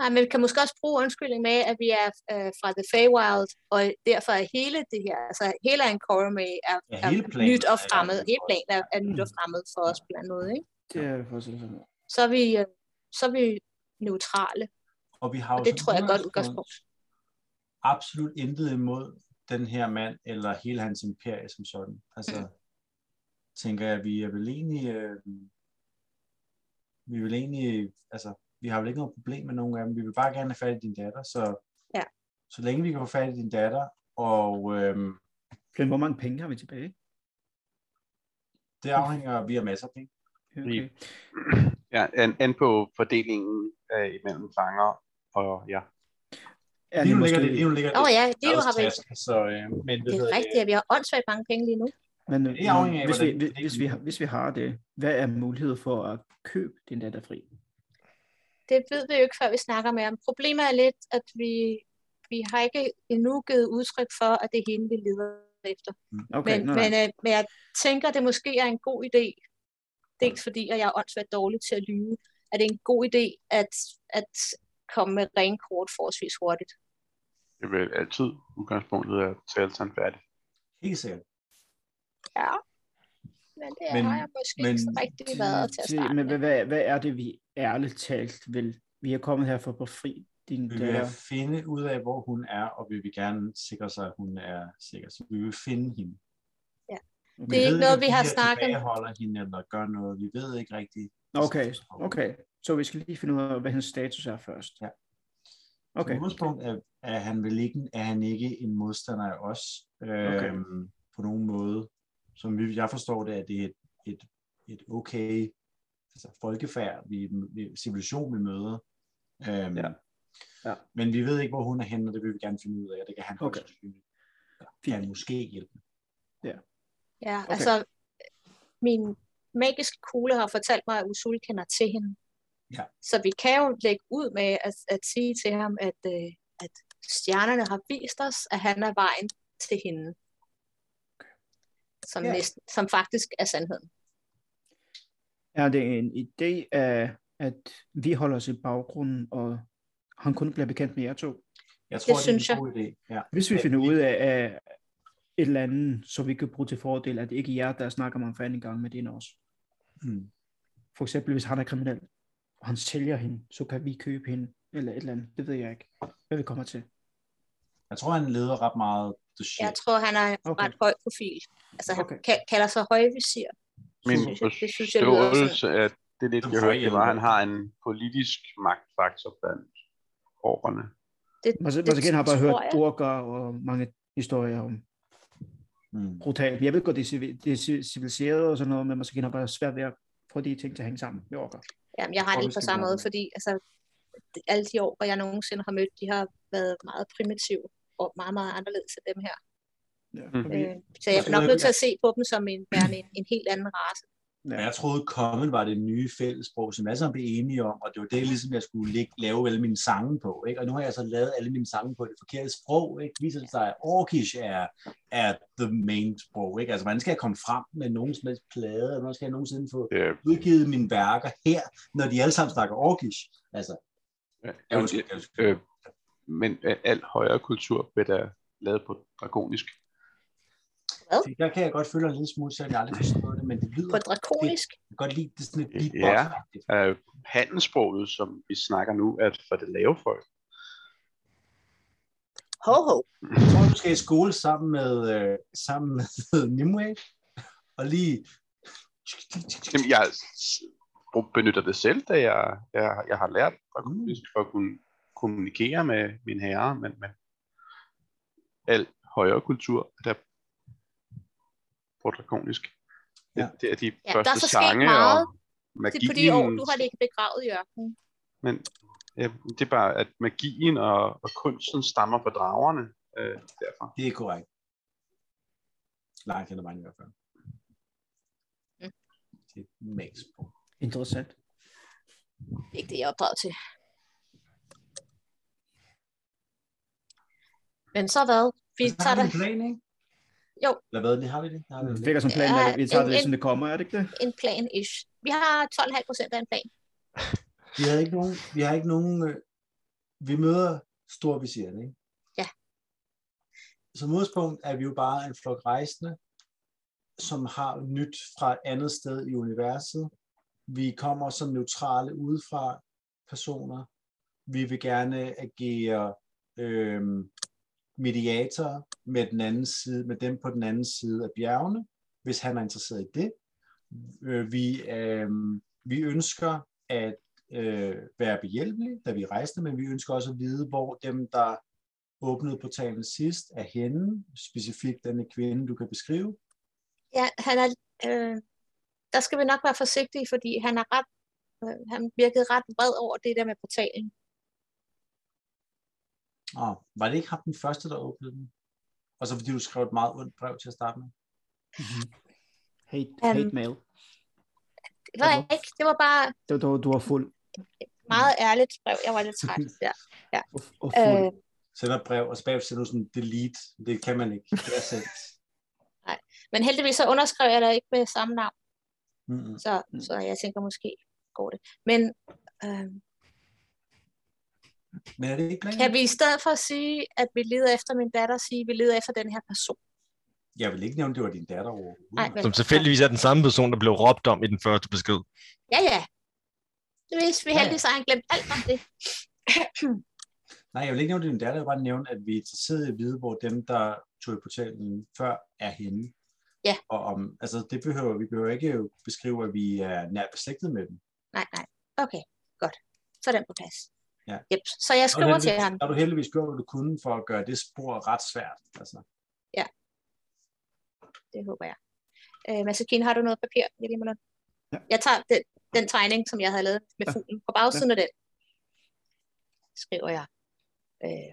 Speaker 3: Nej, men vi kan måske også bruge undskyldning med, at vi er øh, fra The Feywild, og derfor er hele det her, altså hele Ankara med er,
Speaker 5: Ja,
Speaker 3: er
Speaker 5: hele planen
Speaker 3: nyt og
Speaker 5: er- Mm.
Speaker 3: fremmed. Hele planen er, er nyt og fremmed for os på en eller anden måde, ikke?
Speaker 4: Det er faktisk lidt sådan.
Speaker 3: Så er vi, øh, så er vi neutrale,
Speaker 5: Og, vi har
Speaker 3: og
Speaker 5: jo
Speaker 3: det
Speaker 5: som
Speaker 3: tror jeg er et godt udgangspunkt.
Speaker 5: absolut intet imod den her mand, eller hele hans imperie som sådan. Altså, mm. tænker jeg, vi er vel egentlig, øh, vi er vel egentlig, altså, vi har vel ikke noget problem med nogen af dem. Vi vil bare gerne have fat i din datter, så
Speaker 3: Ja.
Speaker 5: så længe vi kan få fat i din datter, og øh,
Speaker 4: Flynn, hvor mange penge har vi tilbage?
Speaker 5: det afhænger, vi har masser af penge.
Speaker 4: Okay.
Speaker 6: øh, Ja, an, an på fordelingen af, imellem fanger og ja.
Speaker 4: er
Speaker 5: Lige
Speaker 4: det
Speaker 5: nu ligger det,
Speaker 4: måske...
Speaker 5: lige nu ligger
Speaker 3: Åh
Speaker 5: det
Speaker 3: ja, det du har vel.
Speaker 5: task, så, øh, men
Speaker 3: Det er rigtigt, at vi har åndssvagt mange penge lige nu.
Speaker 4: Men,
Speaker 5: Det er afhængigt
Speaker 4: men
Speaker 5: af,
Speaker 4: hvis, vi,
Speaker 5: hvordan-
Speaker 4: hvis, hvis, vi, har- hvis vi har det, hvad er mulighed for at købe din datter fri?
Speaker 3: Det ved vi jo ikke, før vi snakker med ham. Problemet er lidt, at vi, vi har ikke endnu givet udtryk for, at det er hende, vi leder efter.
Speaker 4: Okay,
Speaker 3: Men,
Speaker 4: men, nej,
Speaker 3: men,
Speaker 4: men,
Speaker 3: øh, men jeg tænker, at det måske er en god idé, dels fordi at jeg er åndssvagt dårlig til at lyve, at det er en god idé at, at komme med ren kort forholdsvis hurtigt.
Speaker 6: Jeg vil altid udgangspunktet er at tale sådan færdigt.
Speaker 5: Helt sikkert.
Speaker 3: Ja, men det
Speaker 5: Men-
Speaker 3: men, har jeg måske
Speaker 5: men-
Speaker 3: ikke så rigtig været til at
Speaker 4: til,
Speaker 3: starte
Speaker 4: men hvad,
Speaker 3: med.
Speaker 4: hvad, hvad er det, vi ærligt talt vil? Vi er kommet her for at befri din
Speaker 5: Vi vil
Speaker 4: datter.
Speaker 5: finde ud af, hvor hun er, og vi vil gerne sikre sig, at hun er sikker. Så vi vil finde hende.
Speaker 4: Okay.
Speaker 3: Det er ikke noget, vi har snakket om.
Speaker 5: om. holder hende eller gør noget. Vi ved ikke rigtigt.
Speaker 4: Okay, okay. Så vi skal lige finde ud af, hvad hendes status er først.
Speaker 5: Ja.
Speaker 4: Okay,
Speaker 5: Som udgangspunkt er, er, han vel ikke, er han ikke en modstander af os øh,
Speaker 4: Okay.
Speaker 5: okay. på nogen måde. Som vi, jeg forstår det, at det er et, et, et okay altså folkefærd, vi, vi, civilisation, vi møder. Øhm,
Speaker 4: Ja. Ja.
Speaker 5: Men vi ved ikke, hvor hun er henne, og det vil vi gerne finde ud af, og det kan han
Speaker 4: Okay.
Speaker 5: okay. Kan han
Speaker 4: fint.
Speaker 5: måske hjælpe.
Speaker 3: Ja,
Speaker 4: Okay.
Speaker 3: okay. altså, min magiske kugle har fortalt mig, at Usul kender til hende.
Speaker 5: Ja.
Speaker 3: Så vi kan jo lægge ud med at, at sige til ham, at, øh, at stjernerne har vist os, at han er vejen til hende. Som,
Speaker 5: Ja.
Speaker 3: ja. næsten, som faktisk er sandheden.
Speaker 4: Er det en idé, af, at vi holder os i baggrunden, og han kun bliver bekendt med jer to?
Speaker 5: Jeg tror, det, det er en
Speaker 3: synes jeg.
Speaker 5: god idé. Ja.
Speaker 4: Hvis vi
Speaker 5: Ja,
Speaker 4: finder
Speaker 5: vi-
Speaker 4: ud af, af et eller andet, som vi kan bruge til fordel, at det ikke er jer, der snakker om fanden en gang med din også.
Speaker 5: Mm.
Speaker 4: For eksempel, hvis han er kriminel, og han sælger hende, så kan vi købe hende, eller et eller andet. Det ved jeg ikke, hvad vi kommer til.
Speaker 5: Jeg tror, han leder ret meget the shit.
Speaker 3: Jeg tror, han er en
Speaker 4: Okay.
Speaker 3: okay. ret høj profil. Altså, han
Speaker 4: Okay.
Speaker 3: okay. kalder sig højvisir.
Speaker 6: Min
Speaker 3: synes jeg- det synes jeg lyder altså-
Speaker 6: forståelse af det lidt,
Speaker 5: Som
Speaker 6: jeg hørte, det var, at han
Speaker 5: forældre.
Speaker 6: har en politisk magtfaktor blandt årene.
Speaker 3: Det, det
Speaker 4: Masagen har bare
Speaker 3: tror
Speaker 4: hørt
Speaker 3: jeg.
Speaker 4: burger og mange historier om
Speaker 5: Mm.
Speaker 4: brutalt. Jeg ved godt, det er, civi- det er ci- civiliseret og sådan noget, men Masagen har bare svært ved at få de ting til at hænge sammen med orker.
Speaker 3: Jamen, jeg har det
Speaker 5: tror, vi
Speaker 3: ikke på
Speaker 5: skal
Speaker 3: samme
Speaker 5: gøre
Speaker 3: måde,
Speaker 5: det.
Speaker 3: fordi altså, det- alle de år, hvor jeg nogensinde har mødt, de har været meget primitive og meget, meget anderledes end dem her.
Speaker 4: Ja,
Speaker 6: Mm.
Speaker 4: og vi-
Speaker 3: Øh, så jeg er nok
Speaker 5: Måske noget-
Speaker 3: nødt til at se på dem som en, værende en, en helt anden race.
Speaker 5: Men jeg troede, common var det nye fællessprog, som alle sammen blev enige om, og det var det, ligesom, jeg skulle ligge, lave alle mine sange på. Ikke? Og nu har jeg så lavet alle mine sange på det forkerte sprog. Ikke? Viser det sig, at orkish er, er the main sprog. Ikke? Altså, hvordan skal jeg komme frem med nogen som helst plade, og hvordan skal jeg nogensinde få
Speaker 6: Øh,
Speaker 5: udgivet mine værker her, når de alle sammen snakker orkish? Altså,
Speaker 6: øh,
Speaker 5: jeg husker, jeg husker.
Speaker 6: øh, men øh, al højere kultur bliver da lavet på dragonisk.
Speaker 5: Det- Der kan jeg godt føle en lille smule, selvom jeg aldrig forstår det, men det lyder,
Speaker 3: På
Speaker 5: jeg
Speaker 3: drakonisk.
Speaker 5: kan godt lide det er sådan et
Speaker 6: Ja.
Speaker 5: beatbox
Speaker 6: Øh, handelssproget, som vi snakker nu, er for det lave folk.
Speaker 3: Ho, ho.
Speaker 5: Jeg tror, du skal i skole sammen med, øh, sammen med Nimue, og lige...
Speaker 6: Jamen, jeg s- brug- benytter det selv, da jeg, jeg, jeg har lært dragonisk for at kunne kommunikere med mine herrer, men, men al højere kultur, der på dragonisk. Det,
Speaker 5: Ja.
Speaker 6: det er de
Speaker 3: der er
Speaker 6: første
Speaker 3: så sket
Speaker 6: sange
Speaker 3: meget.
Speaker 6: og
Speaker 3: Det
Speaker 6: magien.
Speaker 3: er på de år, du har ligget begravet i ørkenen.
Speaker 6: Men ja, det er bare, at magien og, og kunsten stammer fra dragerne. Øh, derfor.
Speaker 5: Det er korrekt. Langt hen ad vejen i hvert fald.
Speaker 3: Mm.
Speaker 5: Det er max på.
Speaker 4: Interessant.
Speaker 3: Det er ikke det, jeg er opdraget til. Men så hvad? Vi
Speaker 5: har
Speaker 3: tager
Speaker 5: vi
Speaker 3: dig
Speaker 5: en plan, ikke?
Speaker 3: Jo.
Speaker 5: Eller hvad, det har vi det? Har
Speaker 4: Mm,
Speaker 5: vi
Speaker 4: Det
Speaker 5: det?
Speaker 4: virker som planen,
Speaker 3: Ja,
Speaker 4: at vi tager det
Speaker 3: en-
Speaker 4: lidt, som det kommer, er det ikke det?
Speaker 3: en plan-ish. Vi har 12,5 procent af en plan.
Speaker 5: Vi har ikke nogen... Vi, har ikke nogen, øh, vi møder storvisieren, ikke?
Speaker 3: Ja.
Speaker 5: Som udgangspunkt er vi jo bare en flok rejsende, som har nyt fra et andet sted i universet. Vi kommer som neutrale udefra personer. Vi vil gerne agere øh, mediator med, den anden side, med dem på den anden side af bjergene, hvis han er interesseret i det. Øh, vi, øh, vi ønsker at øh, være behjælpelige, da vi er rejsende, men vi ønsker også at vide, hvor dem, der åbnede portalen sidst, er henne, specifikt denne kvinde, du kan beskrive.
Speaker 3: Ja, han er, øh, der skal vi nok være forsigtige, fordi han er ret, øh, han virkede ret vred over det der med portalen.
Speaker 5: Åh, var det ikke ham den første, der åbnede den? Og så fordi du skrev et meget ondt brev til at starte med.
Speaker 4: Hate,
Speaker 3: Um,
Speaker 4: hate mail.
Speaker 3: Det var jeg
Speaker 4: Hvorfor?
Speaker 3: ikke. Det var bare
Speaker 4: Det var, du var fuld.
Speaker 3: meget ærligt brev. Jeg var lidt træt der.
Speaker 4: Og, og fuld.
Speaker 3: Øh,
Speaker 5: Sender et brev, og så bagefter sender du sådan delete. Det kan man ikke. Det
Speaker 3: (laughs)
Speaker 5: er sendt.
Speaker 3: men heldigvis så underskrev jeg der ikke med samme navn.
Speaker 5: Mm-mm.
Speaker 3: Så,
Speaker 4: Mm.
Speaker 3: så jeg tænker, måske går det. Men øh,
Speaker 5: Men er det ikke planen?
Speaker 3: kan vi i stedet for at sige, at vi leder efter min datter, sige, at vi leder efter den her person?
Speaker 5: Jeg vil ikke nævne, at det var din datter overhovedet.
Speaker 3: Nej, vel?
Speaker 2: Som tilfældigvis er den samme person, der blev råbt om i den første besked.
Speaker 3: Ja, ja. Hvis vi heldigvis har han glemt alt om det.
Speaker 5: Nej, jeg vil ikke nævne din datter, jeg vil bare nævne, at vi er interesseret i at vide, hvor dem, der tog i portalen før, er henne.
Speaker 3: Ja.
Speaker 5: Og om, altså, det behøver, vi behøver ikke jo beskrive, at vi er nær beslægtet med dem.
Speaker 3: Nej, nej. Okay, godt. Så er den på plads.
Speaker 5: Ja.
Speaker 3: Yep. Så jeg
Speaker 5: Og
Speaker 3: skriver
Speaker 5: heldigvis-
Speaker 3: til ham.
Speaker 5: Har du heldigvis gjort, hvad du kunne for at gøre det spor ret svært. Altså,
Speaker 3: Det håber jeg. Øh, Masakine, har du noget papir? Jeg, lige må låne?
Speaker 4: Ja.
Speaker 3: jeg tager den, den tegning, som jeg havde lavet med
Speaker 4: Ja.
Speaker 3: fuglen. På bagsiden af den skriver jeg øh,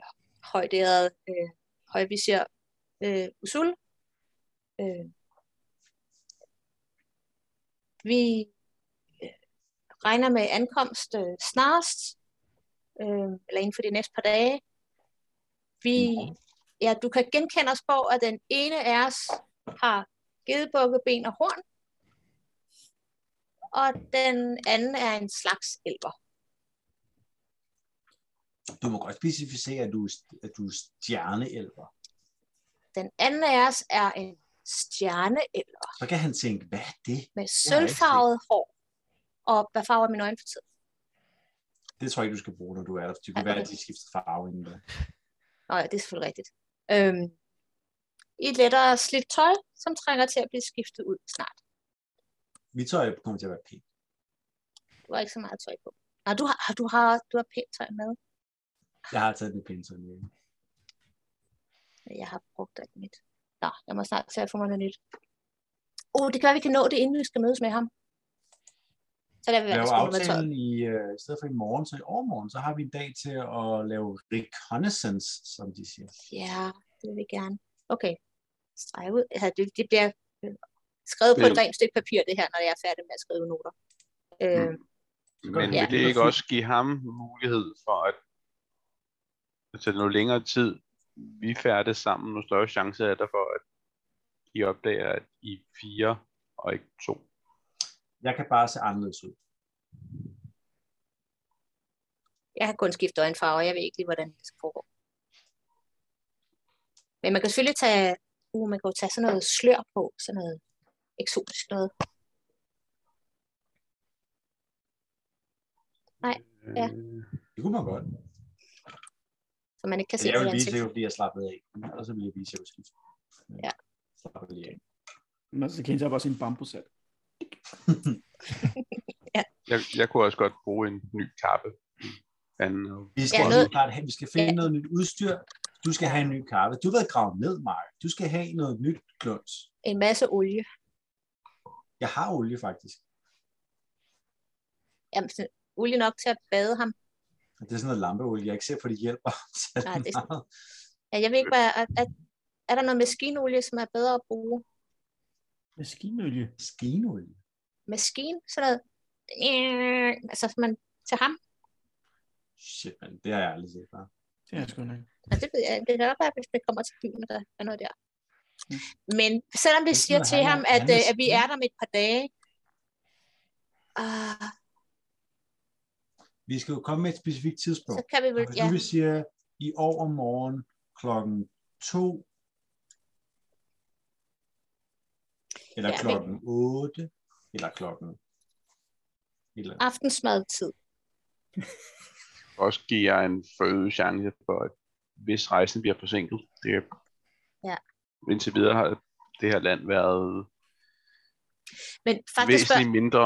Speaker 3: højderet øh, højvisir øh, Usul. Øh, vi øh, regner med ankomst øh, snarest, øh, eller inden for de næste par dage. Vi, ja, du kan genkende os på, at den ene af os har gedebukke, ben og horn. Og den anden er en slags elver.
Speaker 5: du må godt specificere, at du, er- at du er stjerneelver.
Speaker 3: Den anden af os er en stjerneelver
Speaker 5: Så kan han tænke, hvad er det?
Speaker 3: med
Speaker 5: har jeg ikke set.
Speaker 3: sølvfarvet hår. Og hvad farver er mine øjne for tiden?
Speaker 5: Det tror jeg ikke, du skal bruge, når du er der. for Det kan
Speaker 3: Ja,
Speaker 5: være, at
Speaker 3: okay.
Speaker 5: de skifter farve inden da.
Speaker 3: Nå ja, det er selvfølgelig rigtigt. Øhm, I et lettere slidt tøj, som trænger til at blive skiftet ud snart.
Speaker 5: Vi tror, jeg kommer til at være pænt.
Speaker 3: Du har ikke så meget tøj på. Nej, du har, du har, du har pænt tøj med.
Speaker 5: Jeg har taget den pænt sådan.
Speaker 3: Men jeg har brugt alt mit. Nå, jeg må snart se at få mig noget nyt. Åh, oh, det kan være, vi kan nå det, inden vi skal mødes med ham. Så lader vi være,
Speaker 5: lave
Speaker 3: at med tøjet.
Speaker 5: aftalen i, øh, i stedet for i morgen, så i overmorgen, så har vi en dag til at lave reconnaissance, som de siger.
Speaker 3: Ja, det vil vi gerne. Okay, streg ud. Ja, det, det bliver øh, skrevet på et
Speaker 6: Men-
Speaker 3: rent stykke papir, det her, når jeg er færdig med at skrive noter.
Speaker 5: Mm.
Speaker 3: Øh,
Speaker 6: Men
Speaker 5: Ja.
Speaker 6: vil det ikke også give ham mulighed for at altså noget længere tid, vi færdes sammen, nu større chance er der for, at I opdager, at I er fire og ikke to.
Speaker 5: Jeg kan bare se anderledes ud.
Speaker 3: jeg har kun skiftet øjenfarve, og jeg ved ikke lige, hvordan det skal foregå. Men man kan selvfølgelig tage, uh, man kan jo tage sådan noget slør på, sådan noget eksotisk noget. Nej, ja.
Speaker 6: Øh,
Speaker 5: Det kunne man godt.
Speaker 3: Så man ikke kan
Speaker 5: Altså,
Speaker 3: se
Speaker 5: jeg
Speaker 3: det
Speaker 5: vil
Speaker 3: i
Speaker 5: vise
Speaker 3: ansigtet.
Speaker 5: jer, fordi jeg slappede af. Og så vil jeg vise jer, at
Speaker 3: Ja.
Speaker 5: Slapper lige af.
Speaker 3: Øh.
Speaker 4: Men så kendte jeg bare sin bambusat.
Speaker 6: jeg, jeg kunne også godt bruge en ny kappe. Anden,
Speaker 5: Vi skal,
Speaker 3: Ja,
Speaker 5: ja,
Speaker 3: noget-
Speaker 5: noget... vi skal finde
Speaker 3: Ja.
Speaker 5: noget nyt udstyr. Du skal have en ny kappe. Du har været gravet ned, Mark. Du skal have noget nyt kluns.
Speaker 3: En masse olie.
Speaker 5: Jeg har olie, faktisk.
Speaker 3: Jamen, sådan, olie nok til at bade ham.
Speaker 5: Og Det er sådan noget lampeolie. Jeg er ikke ser på, det hjælper. (laughs) særlig
Speaker 3: Nej, det er-
Speaker 5: meget.
Speaker 3: Ja, jeg ved ikke, hvad, er, er, er der noget maskinolie, som er bedre at bruge?
Speaker 4: Maskinølie.
Speaker 5: Skinolie.
Speaker 3: Maskin? Sådan noget. Øh, Altså, som man til ham?
Speaker 5: Shit, man. Det har jeg aldrig set før.
Speaker 4: Det er sgu nok.
Speaker 3: Og det ved jeg, det kan godt være, hvis det kommer til byen, der er noget der.
Speaker 4: Mm.
Speaker 3: Men selvom vi
Speaker 5: Det
Speaker 3: siger
Speaker 5: lyder
Speaker 3: til
Speaker 5: han-
Speaker 3: ham,
Speaker 5: han
Speaker 3: at,
Speaker 5: vil
Speaker 3: øh, at vi
Speaker 5: sige.
Speaker 3: er der om et par dage, ah,
Speaker 5: Vi skal jo komme med et specifikt tidspunkt.
Speaker 3: så kan vi vel,
Speaker 5: Og Hvis
Speaker 3: ja,
Speaker 5: nu vi siger, i overmorgen klokken 2, eller
Speaker 3: Ja,
Speaker 5: ja,
Speaker 3: men-
Speaker 5: klokken 8, eller klokken... Eller,
Speaker 3: aftensmadtid.
Speaker 6: også giver jer en forøget chance for, at hvis rejsen bliver forsinket. Det,
Speaker 3: Ja.
Speaker 6: Indtil videre har det her land været
Speaker 3: Men faktisk,
Speaker 6: væsentligt mindre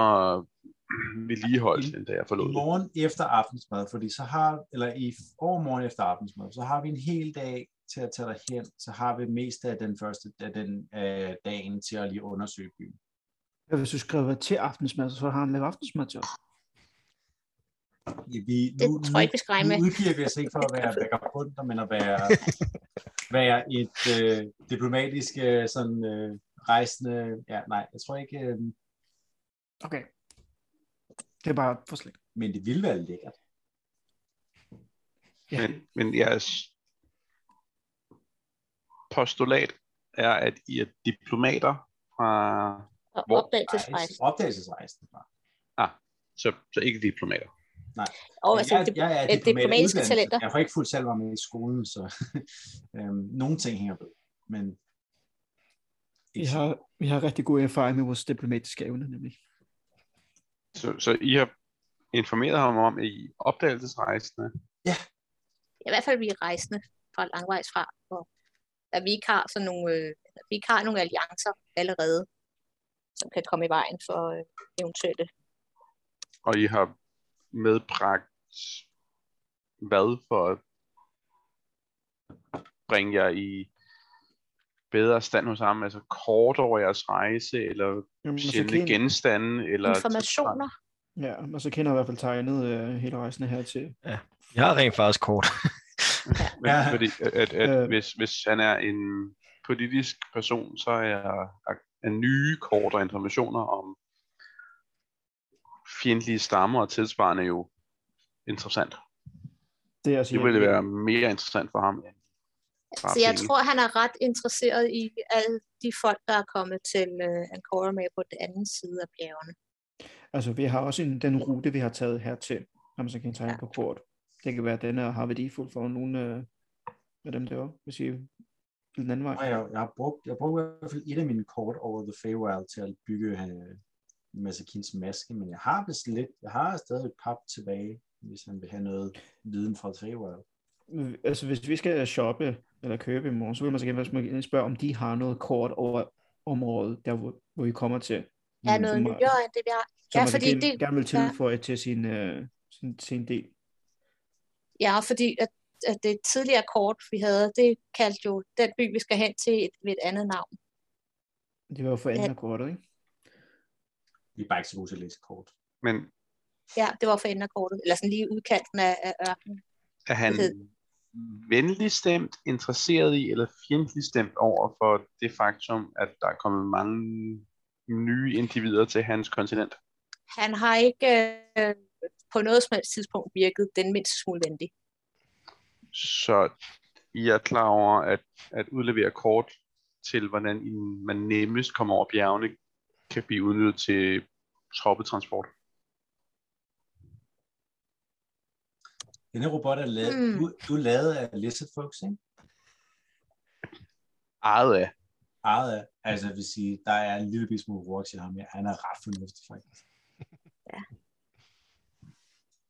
Speaker 6: vedligeholdt, end da jeg
Speaker 5: I
Speaker 6: forlod det.
Speaker 5: morgen efter aftensmad, fordi så har, eller i overmorgen efter aftensmad, så har vi en hel dag til at tage dig hen, så har vi mest af den første af den, øh, dagen til at lige undersøge byen.
Speaker 4: Hvad hvis du skriver til aftensmad, så har han lavet aftensmad til os?
Speaker 5: Ja, vi,
Speaker 3: Det
Speaker 5: nu,
Speaker 3: tror jeg ikke, vi skal regne med.
Speaker 5: Nu udgiver vi os ikke for at være vagabunder, men at være, være et øh, diplomatisk øh, sådan, øh, rejsende... Ja, nej, jeg tror ikke... Øh,
Speaker 4: Okay. Det er bare et forslag.
Speaker 5: men det ville være lækkert.
Speaker 4: Ja.
Speaker 6: Men, men jeres postulat er, at I er diplomater fra...
Speaker 3: Og
Speaker 6: Hvor?
Speaker 3: opdagelsesrejse.
Speaker 5: Rejse- Opdagelsesrejsen. bare.
Speaker 6: Så, så ikke diplomater.
Speaker 3: Og
Speaker 5: Men
Speaker 3: altså,
Speaker 5: jeg,
Speaker 3: det,
Speaker 5: jeg er
Speaker 3: øh,
Speaker 5: diplomat i
Speaker 3: diplomatiske
Speaker 5: uddannelse.
Speaker 3: talenter.
Speaker 5: Jeg har ikke fuldt selv var med i skolen, så (laughs) øhm, nogle ting hænger ved. Men
Speaker 4: Vi har, vi har rigtig god erfaring med vores diplomatiske evne, nemlig.
Speaker 6: Så, så I har informeret ham om, at I er opdagelsesrejsende.
Speaker 3: i hvert fald vi er rejsende fra langvejs fra, og at vi ikke har sådan nogle, øh, at vi ikke har nogle alliancer allerede, som kan komme i vejen for øh, eventuelle.
Speaker 6: Og I har medbragt hvad for at bringe jer i bedre stand hos ham? Altså kort over jeres rejse, eller
Speaker 4: Jamen,
Speaker 6: sjældne genstande, eller...
Speaker 3: Informationer.
Speaker 4: ja, og så kender jeg i hvert fald tegnet øh, hele rejsen her til.
Speaker 2: Jeg har rent faktisk kort.
Speaker 6: Men,
Speaker 5: Ja.
Speaker 6: ja. fordi, at, at, at
Speaker 4: Øh.
Speaker 6: øh. hvis, hvis han er en politisk person, så er, er nye kort og informationer om fjendtlige stammer og tilsvarende jo interessant.
Speaker 4: Det, er altså,
Speaker 6: Det ville være mere interessant for ham. end bare
Speaker 3: Så jeg
Speaker 6: penge.
Speaker 3: tror, han er ret interesseret i alle de folk, der er kommet til øh, Ancora med på den anden side af bjergene.
Speaker 4: Altså, vi har også en, den rute, vi har taget hertil, når man så kan tegne på kort. Det kan være, at den er har værdifuld for nogle øh, af dem derovre, hvis I vil den anden vej.
Speaker 5: Nej, jeg, jeg, har brugt, jeg brugte i hvert fald et af mine kort over The Feywild til at bygge øh, Masakins maske, men jeg har vist lidt, jeg har stadig et pap tilbage, hvis han vil have noget viden fra The Feywild.
Speaker 4: Øh, Altså, hvis vi skal shoppe eller købe i morgen, så vil man så gerne måske spørge, om de har noget kort over området, der hvor, hvor I kommer til.
Speaker 3: Der er noget
Speaker 4: Mm, Som-
Speaker 3: nyere end det, vi har.
Speaker 4: som
Speaker 3: Ja,
Speaker 4: man
Speaker 3: fordi
Speaker 4: gerne,
Speaker 3: det-
Speaker 4: gerne vil tilføje til sin, øh, sin, sin del.
Speaker 3: Ja, fordi at, at det tidligere kort, vi havde, det kaldte jo den by, vi skal hen til, et, ved et andet navn.
Speaker 4: Det var jo for andet kortet, ikke?
Speaker 5: Vi er bare ikke så gode til at læse kort.
Speaker 6: Men
Speaker 3: Ja, det var for enden af kortet. Eller sådan lige udkanten af, af ørkenen.
Speaker 6: er han
Speaker 3: Det
Speaker 6: venlig stemt, interesseret i eller fjendtlig stemt over for det faktum, at der er kommet mange nye individer til hans kontinent?
Speaker 3: Han har ikke øh, på noget som helst tidspunkt virket den mindste smule venlig.
Speaker 6: Så I er klar over at, at udlevere kort til, hvordan I, man nemmest kommer over bjergene, kan blive udnyttet til troppetransport.
Speaker 5: Den her robot er lavet,
Speaker 3: Mm.
Speaker 5: mm. du, du er lavet af Lizard Folks, ikke?
Speaker 6: Ejet af.
Speaker 5: Ejet af, altså jeg vil sige, der er en lille bitte smule works i ham her. Han er ret fornuftig faktisk.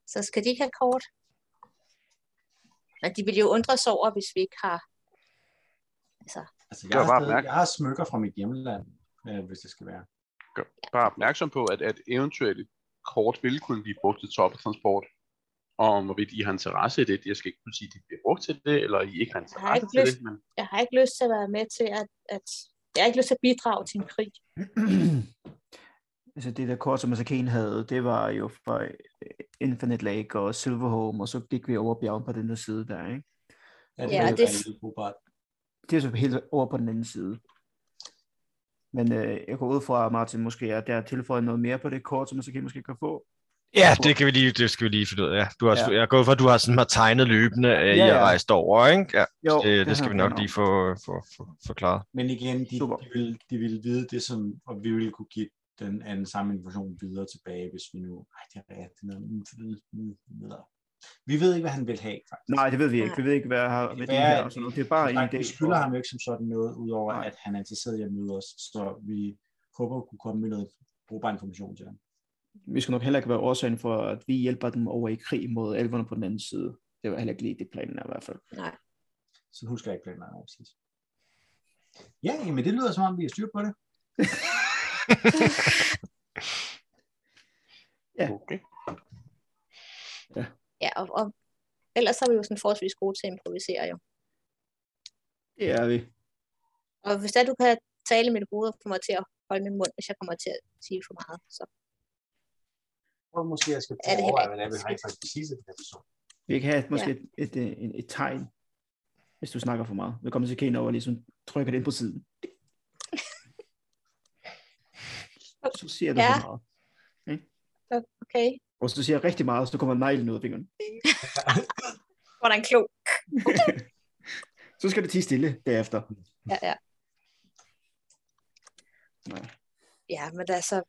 Speaker 3: Så skal de ikke have kort. Men de vil jo undre sig over, hvis vi ikke har... Altså,
Speaker 5: Altså,
Speaker 6: Det
Speaker 5: jeg,
Speaker 6: var
Speaker 5: har
Speaker 6: bare
Speaker 5: stadig,
Speaker 6: opmærk-
Speaker 5: jeg har smykker fra mit hjemland, øh, hvis det skal være.
Speaker 6: Bare opmærksom på, at, at eventuelle kort vil kunne blive brugt til troppetransport. Og om hvorvidt I har interesse i det, jeg skal ikke kunne sige, at de bliver brugt til det, eller I ikke har
Speaker 3: Jeg har
Speaker 6: interesse
Speaker 3: ikke
Speaker 6: til
Speaker 3: lyst.
Speaker 6: det. Men
Speaker 3: jeg har ikke lyst til at være med til at... at jeg har ikke lyst til at bidrage til en krig.
Speaker 4: (clears throat) altså det der kort, som Masakain havde, det var jo fra øh, Infinite Lake og Silverhome, og så gik vi over bjergen på den der side der, ikke?
Speaker 3: Ja,
Speaker 5: er
Speaker 3: det-
Speaker 5: en lille robot.
Speaker 4: Det er så helt over på den anden side. Men øh, jeg går ud fra, at Martin måske er der tilføjet noget mere på det kort, som Masakain måske kan få.
Speaker 2: Ja, det, kan vi lige, det skal vi lige finde ud af. Ja, du har,
Speaker 4: Ja.
Speaker 2: ja. Jeg går ud fra, at du har sådan har tegnet løbende, ja,
Speaker 4: Ja,
Speaker 2: ja. I
Speaker 4: ja.
Speaker 2: har rejst over, ikke? Ja,
Speaker 4: Jo,
Speaker 2: jo, det,
Speaker 4: det
Speaker 2: det,
Speaker 4: har
Speaker 2: skal vi
Speaker 4: jeg
Speaker 2: nok
Speaker 4: fundet
Speaker 2: lige få, få, få forklaret.
Speaker 5: Men igen, de,
Speaker 4: Super.
Speaker 5: de, vil, de vil vide det, som, og vi ville kunne give den anden samme information videre tilbage, hvis vi nu... Ej, det er rigtigt. det er noget- mm, mm, mm, mm. Vi ved ikke, hvad han vil have, faktisk.
Speaker 4: Nej, det ved vi ikke. Vi ved ikke, hvad jeg har
Speaker 5: Det
Speaker 4: med
Speaker 5: kan
Speaker 4: det
Speaker 5: være,
Speaker 4: her.
Speaker 5: at
Speaker 4: Og sådan noget. Det er bare en
Speaker 5: Nej,
Speaker 4: idé.
Speaker 5: Vi skylder ham jo ikke som sådan noget, udover
Speaker 4: Nej.
Speaker 5: Nej. at han er interesseret i at møde os, så vi håber at kunne komme med noget brugbar information til ham.
Speaker 4: Vi skal nok heller ikke være årsagen for, at vi hjælper dem over i krig mod elverne på den anden side. Det var heller ikke lige det planen er i hvert fald.
Speaker 5: Så husker jeg ikke planen nej, præcis. Ja, men det lyder som om, vi har styr på det.
Speaker 4: Ja.
Speaker 6: okay.
Speaker 3: Ja, og, og ellers er vi jo sådan forholdsvis gode til at improvisere jo.
Speaker 4: Det er vi.
Speaker 3: Og hvis der du kan tale med det hoved og få mig til at holde min mund, hvis jeg kommer til at sige for meget, så
Speaker 5: tror måske, jeg skal
Speaker 3: Er det
Speaker 5: prøve at overveje,
Speaker 3: heller
Speaker 5: hvordan jeg vil rent faktisk sige til den her person.
Speaker 4: Vi kan have et- måske ja. et, et, et, et, tegn, hvis du snakker for meget. Vi kommer til Kane over og ligesom trykker det ind på
Speaker 3: (laughs)
Speaker 4: siden. Så siger du
Speaker 3: Ja.
Speaker 4: for meget.
Speaker 3: Okay.
Speaker 4: Og så siger jeg rigtig meget, så kommer neglen ud af fingeren.
Speaker 3: Hvor er der en klo?
Speaker 4: (laughs) Så skal det tige stille derefter.
Speaker 3: Ja, ja.
Speaker 4: Nej.
Speaker 3: Ja, men altså...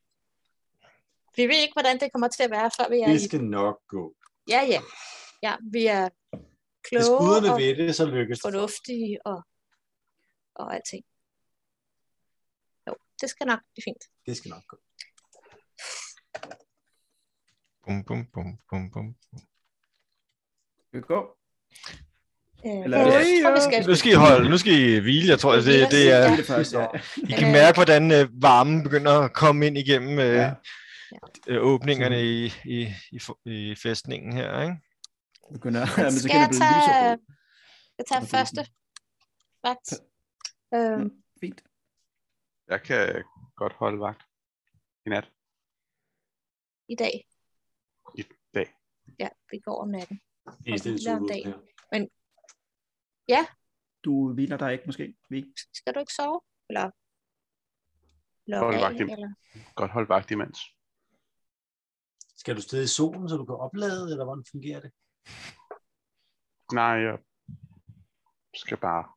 Speaker 3: Vi ved ikke, hvordan det kommer til at være, før vi er...
Speaker 5: Det
Speaker 3: i-
Speaker 5: skal nok gå.
Speaker 3: Ja, ja. Ja, vi er
Speaker 5: Hvis
Speaker 3: kloge
Speaker 5: guderne
Speaker 3: og
Speaker 5: ved det, så lykkes det.
Speaker 3: fornuftige og, og alting. Jo, det skal nok blive fint.
Speaker 5: Det skal nok gå.
Speaker 2: Bum, bum, bum, bum, bum.
Speaker 4: Skal vi gå?
Speaker 3: Øh,
Speaker 4: Eller-
Speaker 3: jeg tror, vi skal... øh,
Speaker 2: Nu skal I holde, nu skal I hvile. Jeg tror, det, det, det er...
Speaker 4: Ja. Det først, ja.
Speaker 2: I kan mærke, hvordan øh, varmen begynder at komme ind igennem øh,
Speaker 4: Ja.
Speaker 2: ja. øh, åbningerne i, i, i, f- i fæstningen her, ikke?
Speaker 4: Begynder,
Speaker 3: Men
Speaker 4: men så
Speaker 3: skal
Speaker 4: kan det
Speaker 3: jeg
Speaker 4: blive
Speaker 3: tage, øh,
Speaker 4: lyserød.
Speaker 3: jeg tager
Speaker 4: Og
Speaker 3: første vagt? Øhm,
Speaker 4: Fint.
Speaker 6: Jeg kan godt holde vagt i nat.
Speaker 3: I dag.
Speaker 6: I dag.
Speaker 3: Ja, vi går om natten.
Speaker 5: Det er
Speaker 3: hviler om
Speaker 5: sådan
Speaker 3: dagen.
Speaker 5: her.
Speaker 4: Du hviler dig ikke måske? Vi.
Speaker 3: Skal du ikke sove? Eller... Eller,
Speaker 6: Hold
Speaker 3: af,
Speaker 6: vagt i-
Speaker 3: eller?
Speaker 6: Godt holde vagt imens.
Speaker 5: Skal du stadig i solen, så du kan oplade, eller hvordan fungerer det?
Speaker 6: Nej, jeg skal bare...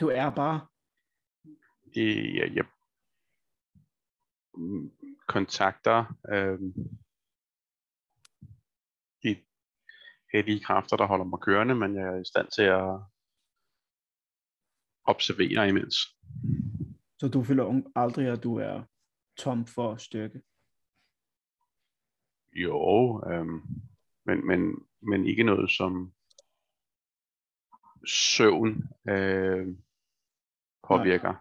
Speaker 4: Du er bare...
Speaker 6: øh, Jeg, jeg mm, kontakter øh, de hellige kræfter, der holder mig kørende, men jeg er i stand til at observere imens.
Speaker 4: Så du føler ung- aldrig, at du er tom for styrke.
Speaker 6: Jo, øhm, men, men, men ikke noget som søvn øh, påvirker.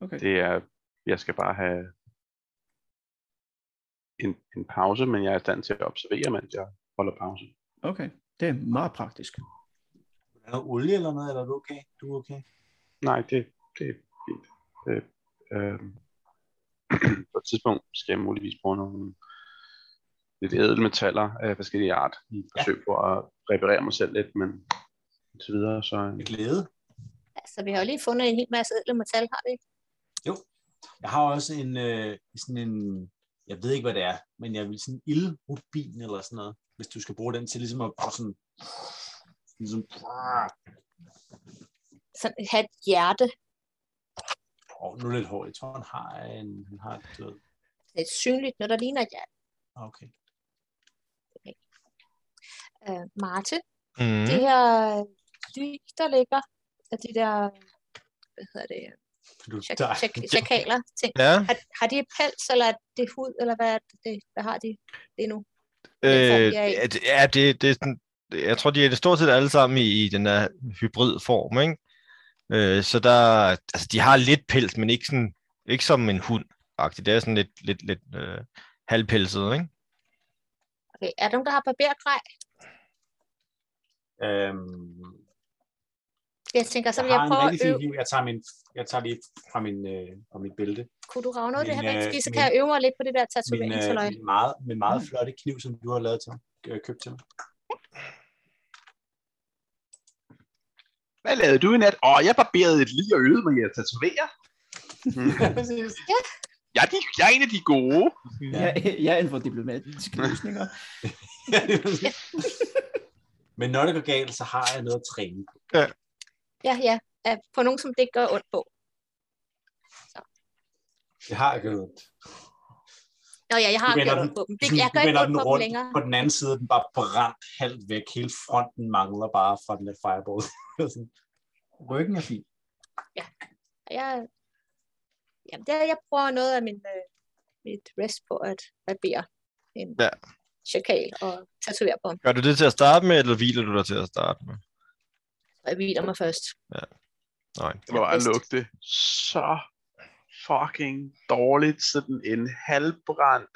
Speaker 4: Okay.
Speaker 6: Det er, jeg skal bare have en, en pause, men jeg er i stand til at observere, mens jeg holder pause.
Speaker 4: Okay. Det er meget praktisk.
Speaker 5: Er der olie eller noget? Eller er du okay? Du er okay?
Speaker 6: Nej, det, det er fint. Det, øh, (clears throat) på et tidspunkt skal jeg muligvis bruge nogle lidt ædelmetaller af forskellige art i et forsøg på at reparere mig selv lidt, men så videre, så øh.
Speaker 5: Med glæde.
Speaker 3: Altså, vi har jo lige fundet en hel masse ædle metal, har vi ikke?
Speaker 5: Jeg har også en, øh, sådan en, jeg ved ikke, hvad det er, men jeg vil sådan en ildrubin eller sådan noget, hvis du skal bruge den til ligesom at bare sådan, ligesom,
Speaker 3: Sådan, have et hjerte,
Speaker 5: åh, nu er det lidt hårdt. Jeg tror, han har en, han har et, øh,
Speaker 3: et synligt, noget der ligner et hjerte.
Speaker 5: okay.
Speaker 3: Øh, Martin,
Speaker 2: Mm.
Speaker 3: det her dyr, der ligger, af de der, hvad hedder det,
Speaker 5: Så Du,
Speaker 3: chak-
Speaker 5: der, (laughs)
Speaker 3: chak- chakaler ting.
Speaker 2: Ja,
Speaker 3: Har, har de pels, eller er det hud, eller hvad, er det, hvad har de lige nu?
Speaker 2: øh,
Speaker 3: jeg ikke.
Speaker 2: ja, det- ja det, det er sådan, jeg tror, de er det stort set alle sammen i, i den der hybridform, ikke? Øh, så der, altså, de har lidt pels, men ikke, sådan, ikke som en hund. -agtigt. Det er sådan lidt, lidt, lidt øh, halvpelset, ikke?
Speaker 3: Okay, er der nogen, der har barbergrej?
Speaker 5: øhm,
Speaker 3: Jeg tænker, så
Speaker 5: jeg
Speaker 3: vil jeg
Speaker 5: har en
Speaker 3: prøve at
Speaker 5: rigtig fin
Speaker 3: øve.
Speaker 5: hiv. Jeg tager, min, jeg tager lige fra min, øh, fra min bælte.
Speaker 3: Kunne du rave noget af det
Speaker 5: Min,
Speaker 3: her væk?
Speaker 5: øh,
Speaker 3: Fordi så
Speaker 5: min-
Speaker 3: kan jeg øve mig lidt på det der
Speaker 5: Min, øh,
Speaker 3: tatoveringshaløj.
Speaker 5: min, meget, min meget
Speaker 3: Mm.
Speaker 5: flotte kniv, som du har lavet til mig, øh, købt til mig.
Speaker 6: Hvad lavede du i nat? Åh, jeg barberede et lige og øvede mig i at (laughs) tatovere. Mm.
Speaker 5: Præcis.
Speaker 6: Jeg er, de, jeg er en af de gode.
Speaker 4: Ja. Jeg, jeg er inden for diplomatiske løsninger.
Speaker 5: (laughs) Men når det går galt, så har jeg noget at træne på.
Speaker 3: Ja, ja. Ja, På nogen, som det ikke gør ondt på.
Speaker 5: Det har jeg gjort.
Speaker 3: Nå ja, jeg har
Speaker 5: Du vender
Speaker 3: gjort
Speaker 5: den-
Speaker 3: ondt på dem. Det, jeg gør ikke
Speaker 5: vender
Speaker 3: ondt på dem
Speaker 5: rundt.
Speaker 3: længere.
Speaker 5: På den anden side er den bare brændt halvt væk. Hele fronten mangler bare fra den der (laughs) fireball. Sådan. Ryggen er fin.
Speaker 3: Og Jeg, jamen, det, er- jeg bruger noget af min, øh, mit rest på at barbere en ja.
Speaker 2: Ja.
Speaker 3: chakal og tatovere på ham.
Speaker 2: Gør du det til at starte med, eller hviler du dig til at starte med?
Speaker 3: Og jeg hviler mig først.
Speaker 2: Nej.
Speaker 6: Det var at
Speaker 3: bedst.
Speaker 6: lugte så fucking dårligt. Sådan en halvbrændt,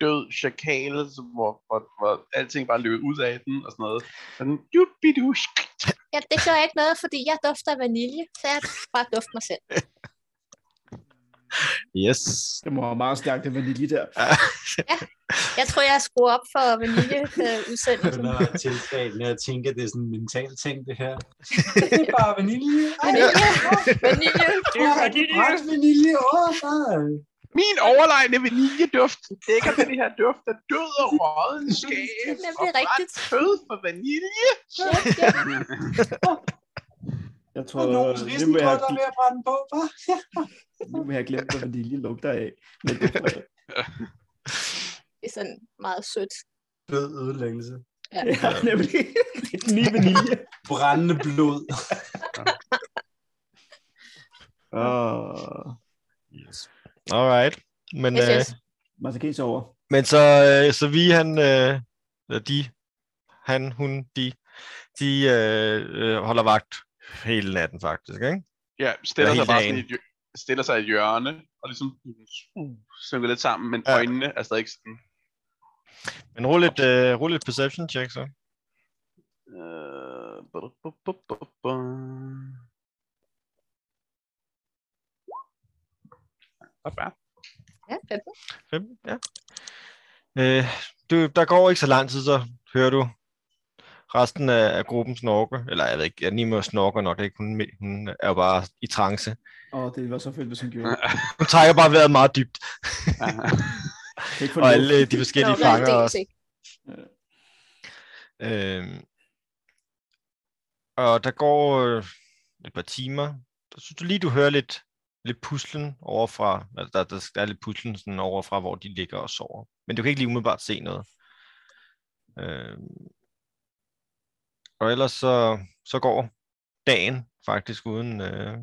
Speaker 6: død chakal, som- hvor, hvor, hvor alting bare løb ud af den og sådan noget. Sådan, du
Speaker 3: Ja, det gør jeg ikke noget, fordi jeg dufter af vanilje, så jeg bare dufter mig selv.
Speaker 2: Yes.
Speaker 4: Det må være meget stærkt, det vanilje der.
Speaker 3: Jeg tror, jeg skruer op for øh,
Speaker 2: (laughs)
Speaker 3: vaniljeudsendelsen.
Speaker 5: begynder at tiltale, og jeg tænker, det er sådan en mental ting, det her. (laughs) det er bare vanilje. Ej,
Speaker 3: Vanilje, vanilje,
Speaker 5: det er brændt vanilje. Åh, nej.
Speaker 6: Min overlegne vaniljeduft dækker den her duft af død og
Speaker 3: (laughs)
Speaker 6: rådden skab.
Speaker 3: Det er
Speaker 6: og
Speaker 3: nemlig
Speaker 6: brændt
Speaker 3: rigtigt.
Speaker 6: kød for vanilje.
Speaker 3: Yep, yep.
Speaker 4: Jeg tror,
Speaker 5: Og nogens
Speaker 4: nu må jeg,
Speaker 5: risengrød, der er ved at brænde på, hva'?
Speaker 4: nu må jeg glemme, hvad vanilje lugter af. Men det er fredag.
Speaker 3: Det er sådan meget sødt.
Speaker 5: Død ødelæggelse.
Speaker 3: Ja.
Speaker 4: (laughs) ja, (laughs) nemlig. Det er den nye vanilje.
Speaker 5: Brændende blod.
Speaker 4: Åh,
Speaker 2: yes. Alright. Men,
Speaker 3: Yes,
Speaker 2: øh,
Speaker 3: yes.
Speaker 4: Masakins over.
Speaker 2: men så, øh, så vi, han, øh, eller de, han, hun, de, de øh, øh, holder vagt hele natten faktisk, ikke?
Speaker 6: Ja, stiller
Speaker 2: Eller
Speaker 6: sig
Speaker 2: hele
Speaker 6: bare sådan i
Speaker 2: dagen.
Speaker 6: et, hjø- stiller sig i et hjørne, og ligesom uh, synker lidt sammen, men
Speaker 2: Ja.
Speaker 6: øjnene er stadig sådan...
Speaker 2: Men rul et, øh, rul et perception check så.
Speaker 6: Øh, bu- bu- bu- bu- bu- Sådan.
Speaker 3: Ja, fedt.
Speaker 2: 15, ja. Øh, du, der går ikke så lang tid, så hører du resten af, af gruppen snorke. Eller jeg ved ikke, Anima snorker nok ikke. Hun, hun er jo bare i trance.
Speaker 4: Åh, det var så fedt, hvis hun gjorde. (laughs) det.
Speaker 2: Hun trækker bare vejret meget dybt.
Speaker 4: Kan ikke få
Speaker 2: Og
Speaker 4: luft.
Speaker 2: alle de
Speaker 3: Det
Speaker 2: forskellige
Speaker 3: var
Speaker 2: fanger
Speaker 3: rigtig
Speaker 2: også.
Speaker 3: ting.
Speaker 2: Øhm, og der går øh, et par timer. Der synes du lige, du hører lidt, lidt puslen overfra. Altså, der, der, der er lidt puslen sådan overfra, hvor de ligger og sover. Men du kan ikke lige umiddelbart se noget. Øhm, og ellers så, så går dagen faktisk uden, øh,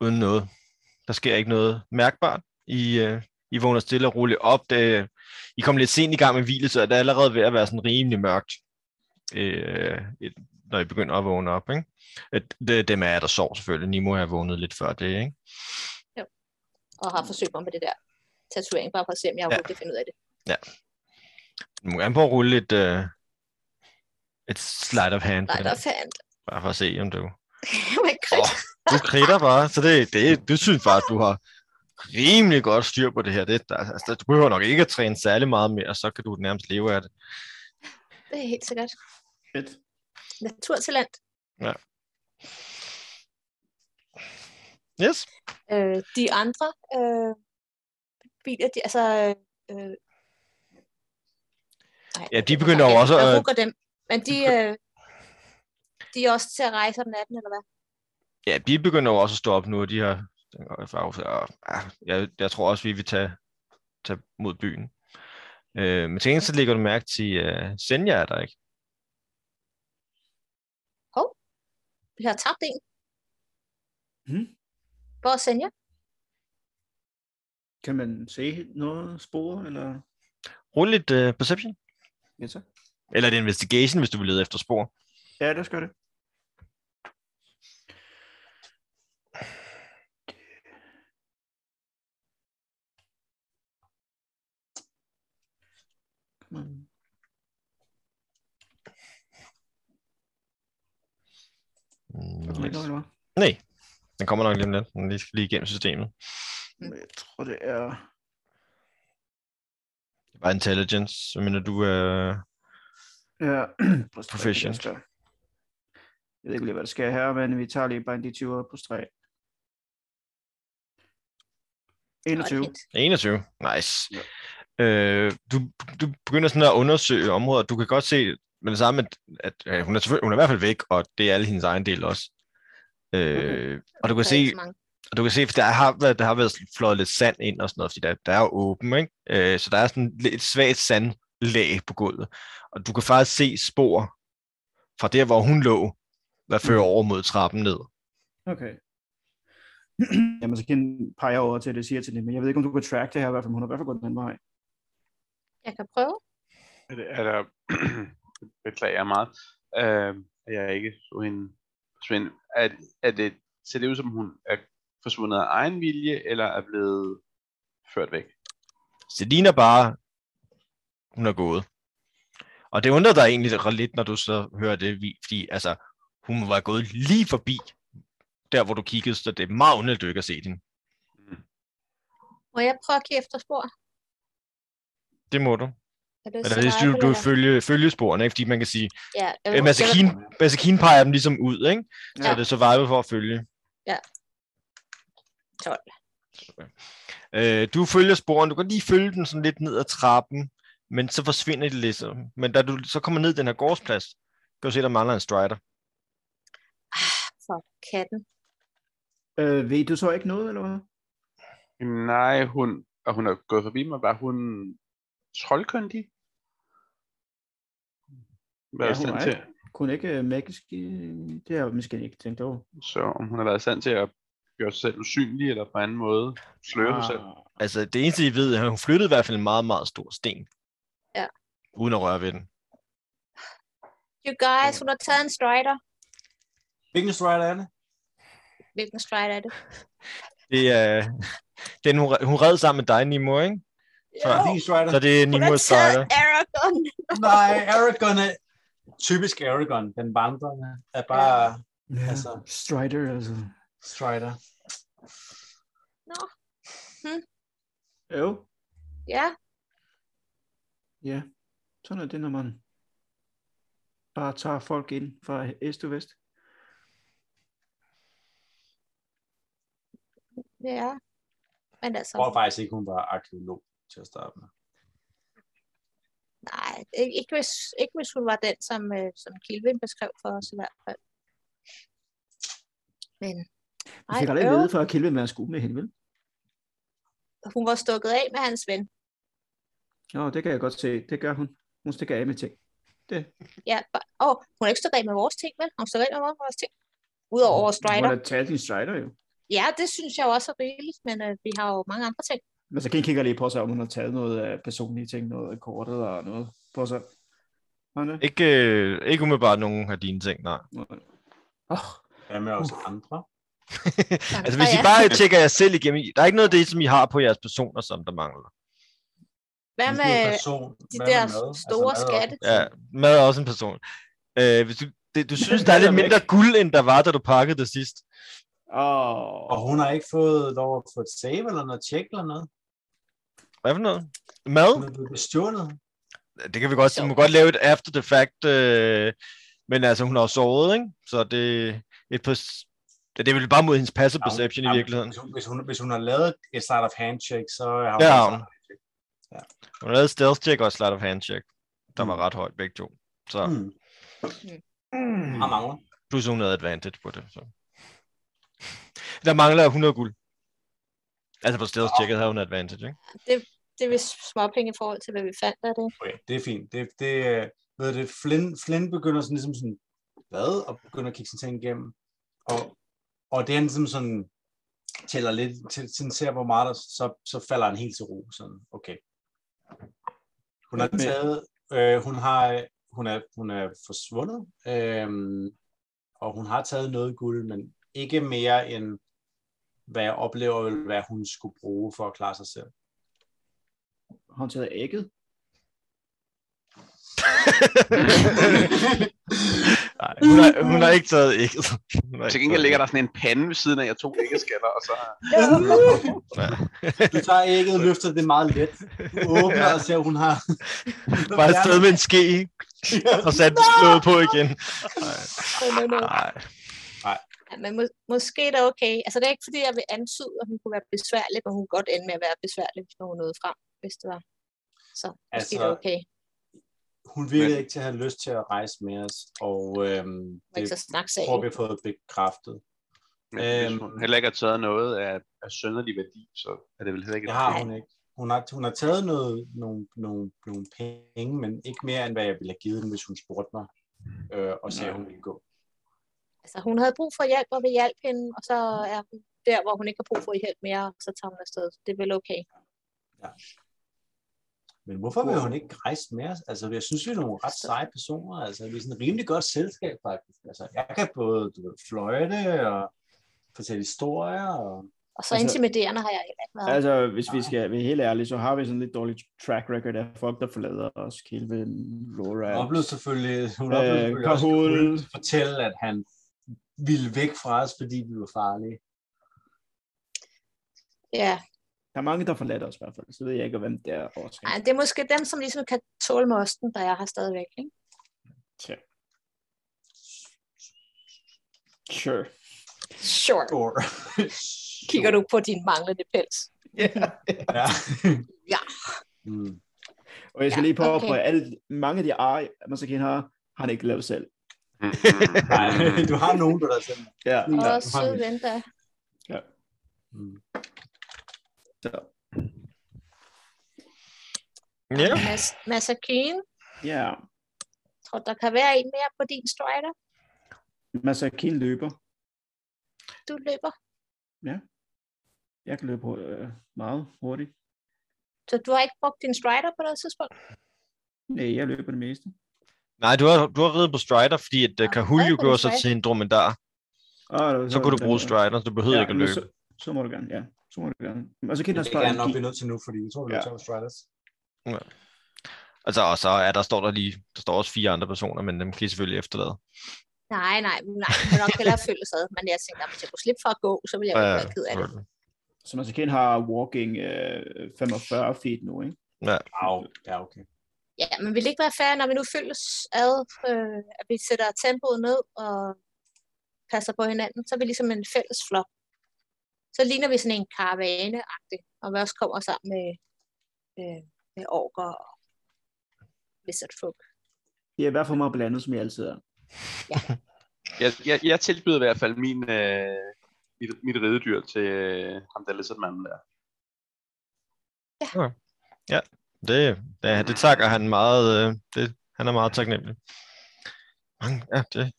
Speaker 2: uden noget. Der sker ikke noget mærkbart. I, øh, I vågner stille og roligt op. Det, i kom lidt sent i gang med hvile, så er det allerede ved at være sådan rimelig mørkt, øh, et- når I begynder at vågne op. Ikke? Et- Det, dem er der sov selvfølgelig. Nimo har vågnet lidt før det. Ikke?
Speaker 3: Og har forsøgt mig med det der tatovering, bare for at se, om jeg overhovedet kan finde ud af det.
Speaker 2: Du må gerne prøve at rulle et, øh, et slide of hand, på
Speaker 3: Nej,
Speaker 2: den
Speaker 3: der
Speaker 2: her,
Speaker 3: fandt.
Speaker 2: bare for at se, om du...
Speaker 3: Men krit.
Speaker 2: Du kritter bare, så det, det, du synes bare, at du har rimelig godt styr på det her. Det, der, altså, du behøver nok ikke at træne særlig meget mere, så kan du nærmest leve af det.
Speaker 3: Det er helt sikkert.
Speaker 4: Fedt.
Speaker 3: Naturtalent.
Speaker 2: Yes.
Speaker 3: Øh, de andre øh, biler, de, altså... Øh, nej,
Speaker 2: Ja, de begynder jo også
Speaker 3: at...
Speaker 2: at-
Speaker 3: Jeg hugger dem, men de, øh, de er også til at rejse om natten, eller hvad?
Speaker 2: Ja, de begynder jo også at stå op nu, og de har farve, og ja, jeg, jeg tror også, vi vil tage, tage mod byen. Øh, men til gengæld så lægger du mærke til, at uh, Senja er der ikke.
Speaker 3: Vi har tabt en.
Speaker 4: Hmm?
Speaker 3: Hvor er Senja?
Speaker 4: Kan man se noget spor, eller?
Speaker 2: Rul lidt uh, perception,
Speaker 4: Ja, så.
Speaker 2: eller et investigation, hvis du vil lede efter spor.
Speaker 4: Ja, lad os gøre det. Come on. Der kommer ikke noget,
Speaker 2: Mm,
Speaker 4: eller hvad?
Speaker 2: nej, den kommer nok lige om lidt. Den lige skal lige igennem systemet.
Speaker 4: Men Jeg tror, det er...
Speaker 2: Det er bare intelligence, så mener du... Uh,
Speaker 4: Ja, (clears throat) plus tre,
Speaker 2: Proficient.
Speaker 4: det er også godt. Jeg ved ikke lige, hvad der sker her, men vi tager lige bare en D20 på stræk.
Speaker 3: Nå, det er
Speaker 4: 21.
Speaker 3: fint.
Speaker 2: 21. Nice. Ja. Øh, du, du begynder sådan at undersøge områder. Du kan godt se med det samme, at, at øh, hun, er selvfølgelig- hun er i hvert fald væk, og det er alle hendes egen del også. Øh, og du
Speaker 3: Der
Speaker 2: kan
Speaker 3: er
Speaker 2: se,
Speaker 3: ikke så mange.
Speaker 2: og du kan se, for der har været, der har været flået lidt sand ind og sådan noget, fordi der, der er jo åben, ikke? Øh, så der er sådan lidt- et svagt sandlag på gulvet. Og du kan faktisk se spor fra der, hvor hun lå, der fører
Speaker 4: Mm.
Speaker 2: over mod trappen ned.
Speaker 4: Okay. (clears throat) Jamen, så kan peger over til det, siger til det, men jeg ved ikke, om du kan track det her, i hvert fald, men hun har i hvert fald gået den anden vej.
Speaker 3: Jeg kan prøve.
Speaker 6: Er (laughs) det, er der... (clears throat) beklager jeg meget, øh, at jeg ikke så hende forsvinde. Er, er det, ser det ud som, hun er forsvundet af egen vilje, eller er blevet ført væk?
Speaker 2: Så det ligner bare, hun er gået. Og det undrer dig egentlig ret lidt, når du så hører det, vi- fordi altså, hun var gået lige forbi der, hvor du kiggede, så det er magnet, du ikke har set hende.
Speaker 3: Må jeg prøve at kigge efter spor?
Speaker 2: Det må du.
Speaker 3: Er det
Speaker 2: Eller hvis du, du følge, følge sporene, ikke? fordi man kan sige,
Speaker 3: Ja, jeg
Speaker 2: øh, Masakin, Masakin peger dem ligesom ud, ikke? Så
Speaker 3: Ja.
Speaker 2: er det survival for at følge.
Speaker 3: Ja. 12.
Speaker 2: Øh, du følger sporene, du kan lige følge den sådan lidt ned ad trappen, men så forsvinder det lidt. så- Men da du så kommer ned i den her gårdsplads, kan du se, der mangler en strider.
Speaker 3: for katten.
Speaker 4: Øh, ved du så ikke noget, eller hvad?
Speaker 6: Jamen, nej, hun, og hun er gået forbi mig. Var hun troldkyndig? Hvad
Speaker 4: Ja,
Speaker 6: ja,
Speaker 4: hun
Speaker 6: stand
Speaker 4: er.
Speaker 6: til?
Speaker 4: Kun ikke øh, magisk? øh, Det har jeg måske ikke tænkt over.
Speaker 6: Så om hun har været i stand til at gøre sig selv usynlig, eller på anden måde sløre sig selv.
Speaker 4: Ah,
Speaker 2: Altså, det eneste, I ved, er, at hun flyttede i hvert fald en meget, meget stor sten.
Speaker 3: Ja.
Speaker 2: Uden at røre ved den.
Speaker 3: You guys, hun har taget en strider.
Speaker 5: Hvilken stride er det?
Speaker 3: Hvilken strider er det?
Speaker 2: Det er (laughs) den, hun, hun red sammen med dig, Nimo, ikke?
Speaker 5: Er det
Speaker 2: Så,
Speaker 5: din strider?
Speaker 2: så det er
Speaker 3: Hun har
Speaker 2: Nimos
Speaker 3: taget
Speaker 2: strider.
Speaker 3: Aragon.
Speaker 5: (laughs) Nej, Aragon er... Typisk Aragon, den vandrende, er bare
Speaker 4: Ja,
Speaker 5: Altså.
Speaker 4: altså. Strider, altså.
Speaker 5: strider.
Speaker 3: Hm?
Speaker 4: Jo,
Speaker 3: Ja,
Speaker 4: ja. Sådan er det, når man bare tager folk ind fra øst og vest.
Speaker 3: ja. Men altså,
Speaker 5: Jeg tror faktisk ikke, hun var arkeolog til at starte med.
Speaker 3: nej, ikke, ikke, hvis, ikke hvis hun var den, som, øh, som Kilvin beskrev for os i hvert fald. Men,
Speaker 4: Vi fik aldrig at vide fra Kilvin, hvad han skulle med hende, vel?
Speaker 3: øv, hun var stukket af med hans ven.
Speaker 4: Nå, det kan jeg godt se. Det gør hun. Hun stikker af med ting.
Speaker 3: Ja, og, og hun er ikke stukket af med vores ting, vel? Hun er stukket af med vores ting. Udover vores
Speaker 4: Hun
Speaker 3: strider.
Speaker 4: har da taget din strider, jo.
Speaker 3: Ja, det synes jeg også er rigeligt, men øh, vi har jo mange andre ting.
Speaker 4: Men så kan I kigge lige på sig, om hun har taget noget af personlige ting, noget af kortet og noget på sig. Har hun det?
Speaker 2: Ikke, øh, ikke umiddelbart nogen af dine ting, nej.
Speaker 4: Nej. Åh,
Speaker 5: Hvad med os andre?
Speaker 2: Altså,
Speaker 3: Der
Speaker 2: hvis I
Speaker 3: er-
Speaker 2: bare tjekker jer selv igennem, I- der er ikke noget af det, som I har på jeres personer, som der mangler.
Speaker 3: Hvad
Speaker 5: Hvilken
Speaker 3: med...
Speaker 5: person?
Speaker 3: de
Speaker 5: Hvad med
Speaker 3: der
Speaker 5: mad? Altså,
Speaker 3: store
Speaker 5: mad er også en
Speaker 3: skatte?
Speaker 5: ting.
Speaker 2: Ja, mad er også en person. Øh, hvis du, det, du synes, der er lidt
Speaker 4: Eller
Speaker 2: mindre guld, end der var, da du pakkede det sidst.
Speaker 5: Og
Speaker 4: åh.
Speaker 5: hun har ikke fået lov at få et save eller noget tjek eller noget.
Speaker 2: Hvad for noget? Mad?
Speaker 5: Hun er blevet bestjålet.
Speaker 2: Det kan vi godt sige. Vi må godt lave et after the fact. Øh, men altså, hun har jo sovet, ikke? Så det, et pers det er vel bare mod hendes passive
Speaker 5: Ja, hun-
Speaker 2: perception
Speaker 5: ja,
Speaker 2: i virkeligheden.
Speaker 5: Hvis hun, hvis, hun, hvis hun har lavet et start of handshake, så har hun...
Speaker 2: Det har
Speaker 5: altså-
Speaker 2: hun. Hun har lavet stealth check og slide of hand check, der var ret højt begge to. Så
Speaker 5: Hmm.
Speaker 3: Hmm.
Speaker 5: Har mangler.
Speaker 2: plus hun havde advantage på det. Så. Der mangler 100 guld. Altså på stealth checket havde hun advantage,
Speaker 3: (laughs)
Speaker 2: ikke?
Speaker 3: Det er vist småpenge i forhold til, hvad vi fandt af det.
Speaker 5: Okay, det er fint. Det, det, øh, ved du det, Flynn, Flynn begynder sådan ligesom sådan, hvad? Og begynder at kigge sine ting igennem. Og, og det er han ligesom sådan, tæller lidt, til, sådan ser hvor meget der, så, så falder han helt til ro. Sådan, okay. Hun har
Speaker 4: Men-
Speaker 5: taget, øh, hun har, øh, hun er, hun er forsvundet, øh, og hun har taget noget guld, men ikke mere end, hvad jeg oplever, vil være, hun skulle bruge for at klare sig selv.
Speaker 4: Har hun taget ægget?
Speaker 2: Nej, hun har, hun har ikke taget ikke. Hun har
Speaker 6: Til
Speaker 2: ikke
Speaker 6: gengæld
Speaker 2: taget
Speaker 6: ligger der sådan en pande ved siden af, jeg tog æggeskaller, og så
Speaker 5: Du tager ægget og løfter det meget let. Du åbner og ser, at hun har...
Speaker 2: æg. Bare afsted med en
Speaker 3: (laughs)
Speaker 2: ske, ikke? og sat slået på igen.
Speaker 3: No, no, no.
Speaker 2: Nej,
Speaker 3: Ja, men må, måske er det okay. Altså, det er ikke fordi, jeg vil antyde, at hun kunne være besværlig, men hun kunne godt ende med at være besværlig, hvis hun nåede frem, hvis det var. Så måske altså,
Speaker 5: Altså,
Speaker 3: er det okay.
Speaker 5: Hun virkede ikke til at have lyst til at rejse med os, og øhm,
Speaker 3: Man
Speaker 5: det
Speaker 3: ikke så snakke sig
Speaker 5: tror vi har fået bekræftet.
Speaker 6: Men hvis
Speaker 5: Øhm.
Speaker 6: hun heller ikke har taget noget af, af sønderlig værdi, så er det vel heller ikke...
Speaker 5: Det
Speaker 6: et
Speaker 5: har
Speaker 6: problem.
Speaker 5: hun ikke. Hun har, hun har taget noget, nogle, nogle, nogle penge, men ikke mere, end hvad jeg ville have givet hende, hvis hun spurgte mig, øh, og sagde, at hun ville gå.
Speaker 3: Altså, hun havde brug for hjælp, og vi hjalp hende, og så er hun der, hvor hun ikke har brug for hjælp mere, og så tager hun afsted. Det er vel okay.
Speaker 5: Men hvorfor vil hun ikke rejse med os? Altså, jeg synes, vi er nogle ret seje personer. Altså, vi er sådan et rimelig godt selskab, faktisk. Altså, jeg kan både du ved, fløjte og fortælle historier. Og...
Speaker 3: Og
Speaker 4: Altså-
Speaker 3: så altså, intimiderende har jeg heller ikke været. Altså,
Speaker 4: Altså, hvis vi skal være helt ærlige, så har vi sådan lidt dårlig track record af folk, der forlader os. Kilvin,
Speaker 5: Hun
Speaker 4: Laura,
Speaker 5: oplevede selvfølgelig, hun
Speaker 4: Øh,
Speaker 5: oplevede selvfølgelig også,
Speaker 4: Kahul.
Speaker 5: at hun fortælle, at han ville væk fra os, fordi vi var farlige.
Speaker 3: Ja,
Speaker 4: Der er mange, der forlader os i hvert fald, så ved jeg ikke, hvem det er årsag.
Speaker 3: Ej, det er måske dem, som ligesom kan tåle mosten, der er her stadigvæk. Ikke?
Speaker 4: Sure.
Speaker 3: Sure.
Speaker 5: Or...
Speaker 3: Kigger du på din manglende pels?
Speaker 5: Ja.
Speaker 3: Ja.
Speaker 5: Mm.
Speaker 4: Og jeg skal
Speaker 3: Ja,
Speaker 4: ja, lige på okay.
Speaker 3: okay.
Speaker 4: at alle, mange af de ar, man så kan har, har han ikke lavet selv.
Speaker 6: Mm,
Speaker 5: Nej, (laughs) du har nogen, du der Mm. selv.
Speaker 4: Ja.
Speaker 3: Og
Speaker 5: har
Speaker 3: ja,
Speaker 5: vi.
Speaker 3: søde ven, der.
Speaker 5: Mm.
Speaker 4: Så,
Speaker 2: Ja.
Speaker 3: Mas Masakine.
Speaker 4: ja.
Speaker 3: Tror du, der kan være en mere på din strider?
Speaker 4: Masakin løber.
Speaker 3: Du løber.
Speaker 4: Jeg kan løbe øh, meget hurtigt.
Speaker 3: Så du har ikke brugt din strider på noget tidspunkt?
Speaker 4: Nej, jeg løber det meste.
Speaker 2: Nej, du har, du har ridet på Strider, fordi at uh,
Speaker 3: har
Speaker 2: Kahul jo
Speaker 3: ridet på
Speaker 2: gjorde
Speaker 3: en
Speaker 2: sig
Speaker 3: Strider.
Speaker 2: til en dromedar.
Speaker 4: Og,
Speaker 2: Så kunne du bruge Strider, så du behøvede ikke at
Speaker 4: men
Speaker 2: løbe.
Speaker 4: Så, så må du gerne, ja. Så må du gerne. Og så kan
Speaker 5: Det
Speaker 4: der
Speaker 5: er jeg nok
Speaker 4: strategi.
Speaker 5: blive nødt til nu, fordi jeg tror, vi
Speaker 4: Ja.
Speaker 5: tager Striders.
Speaker 2: Altså, og så er der, står der lige, der står også fire andre personer, men dem kan I selvfølgelig efterlade.
Speaker 3: Nej, nej, nej. Jeg vil nok hellere følge sad. Men jeg tænkte, at hvis jeg kunne slippe for at gå, så ville jeg jo
Speaker 2: Øh,
Speaker 3: ikke være ked af det.
Speaker 4: Så Masakin har walking øh, 45 feet nu, ikke?
Speaker 5: Au, ja, okay.
Speaker 3: Ja, men vil det ikke være fair, når vi nu følges ad, øh, at vi sætter tempoet ned og passer på hinanden, så er vi ligesom en fælles flok. Så ligner vi sådan en karavane og vi også kommer sammen med, øh, med orker og wizard folk.
Speaker 4: Det er i hvert fald meget blandet, som jeg altid er.
Speaker 6: (laughs) Jeg, jeg, jeg tilbyder i hvert fald min, øh, mit, mit ridedyr til øh, ham, der læser manden der.
Speaker 2: Det, ja, det takker han meget, øh, det, han er meget taknemmelig. Mange, ja, det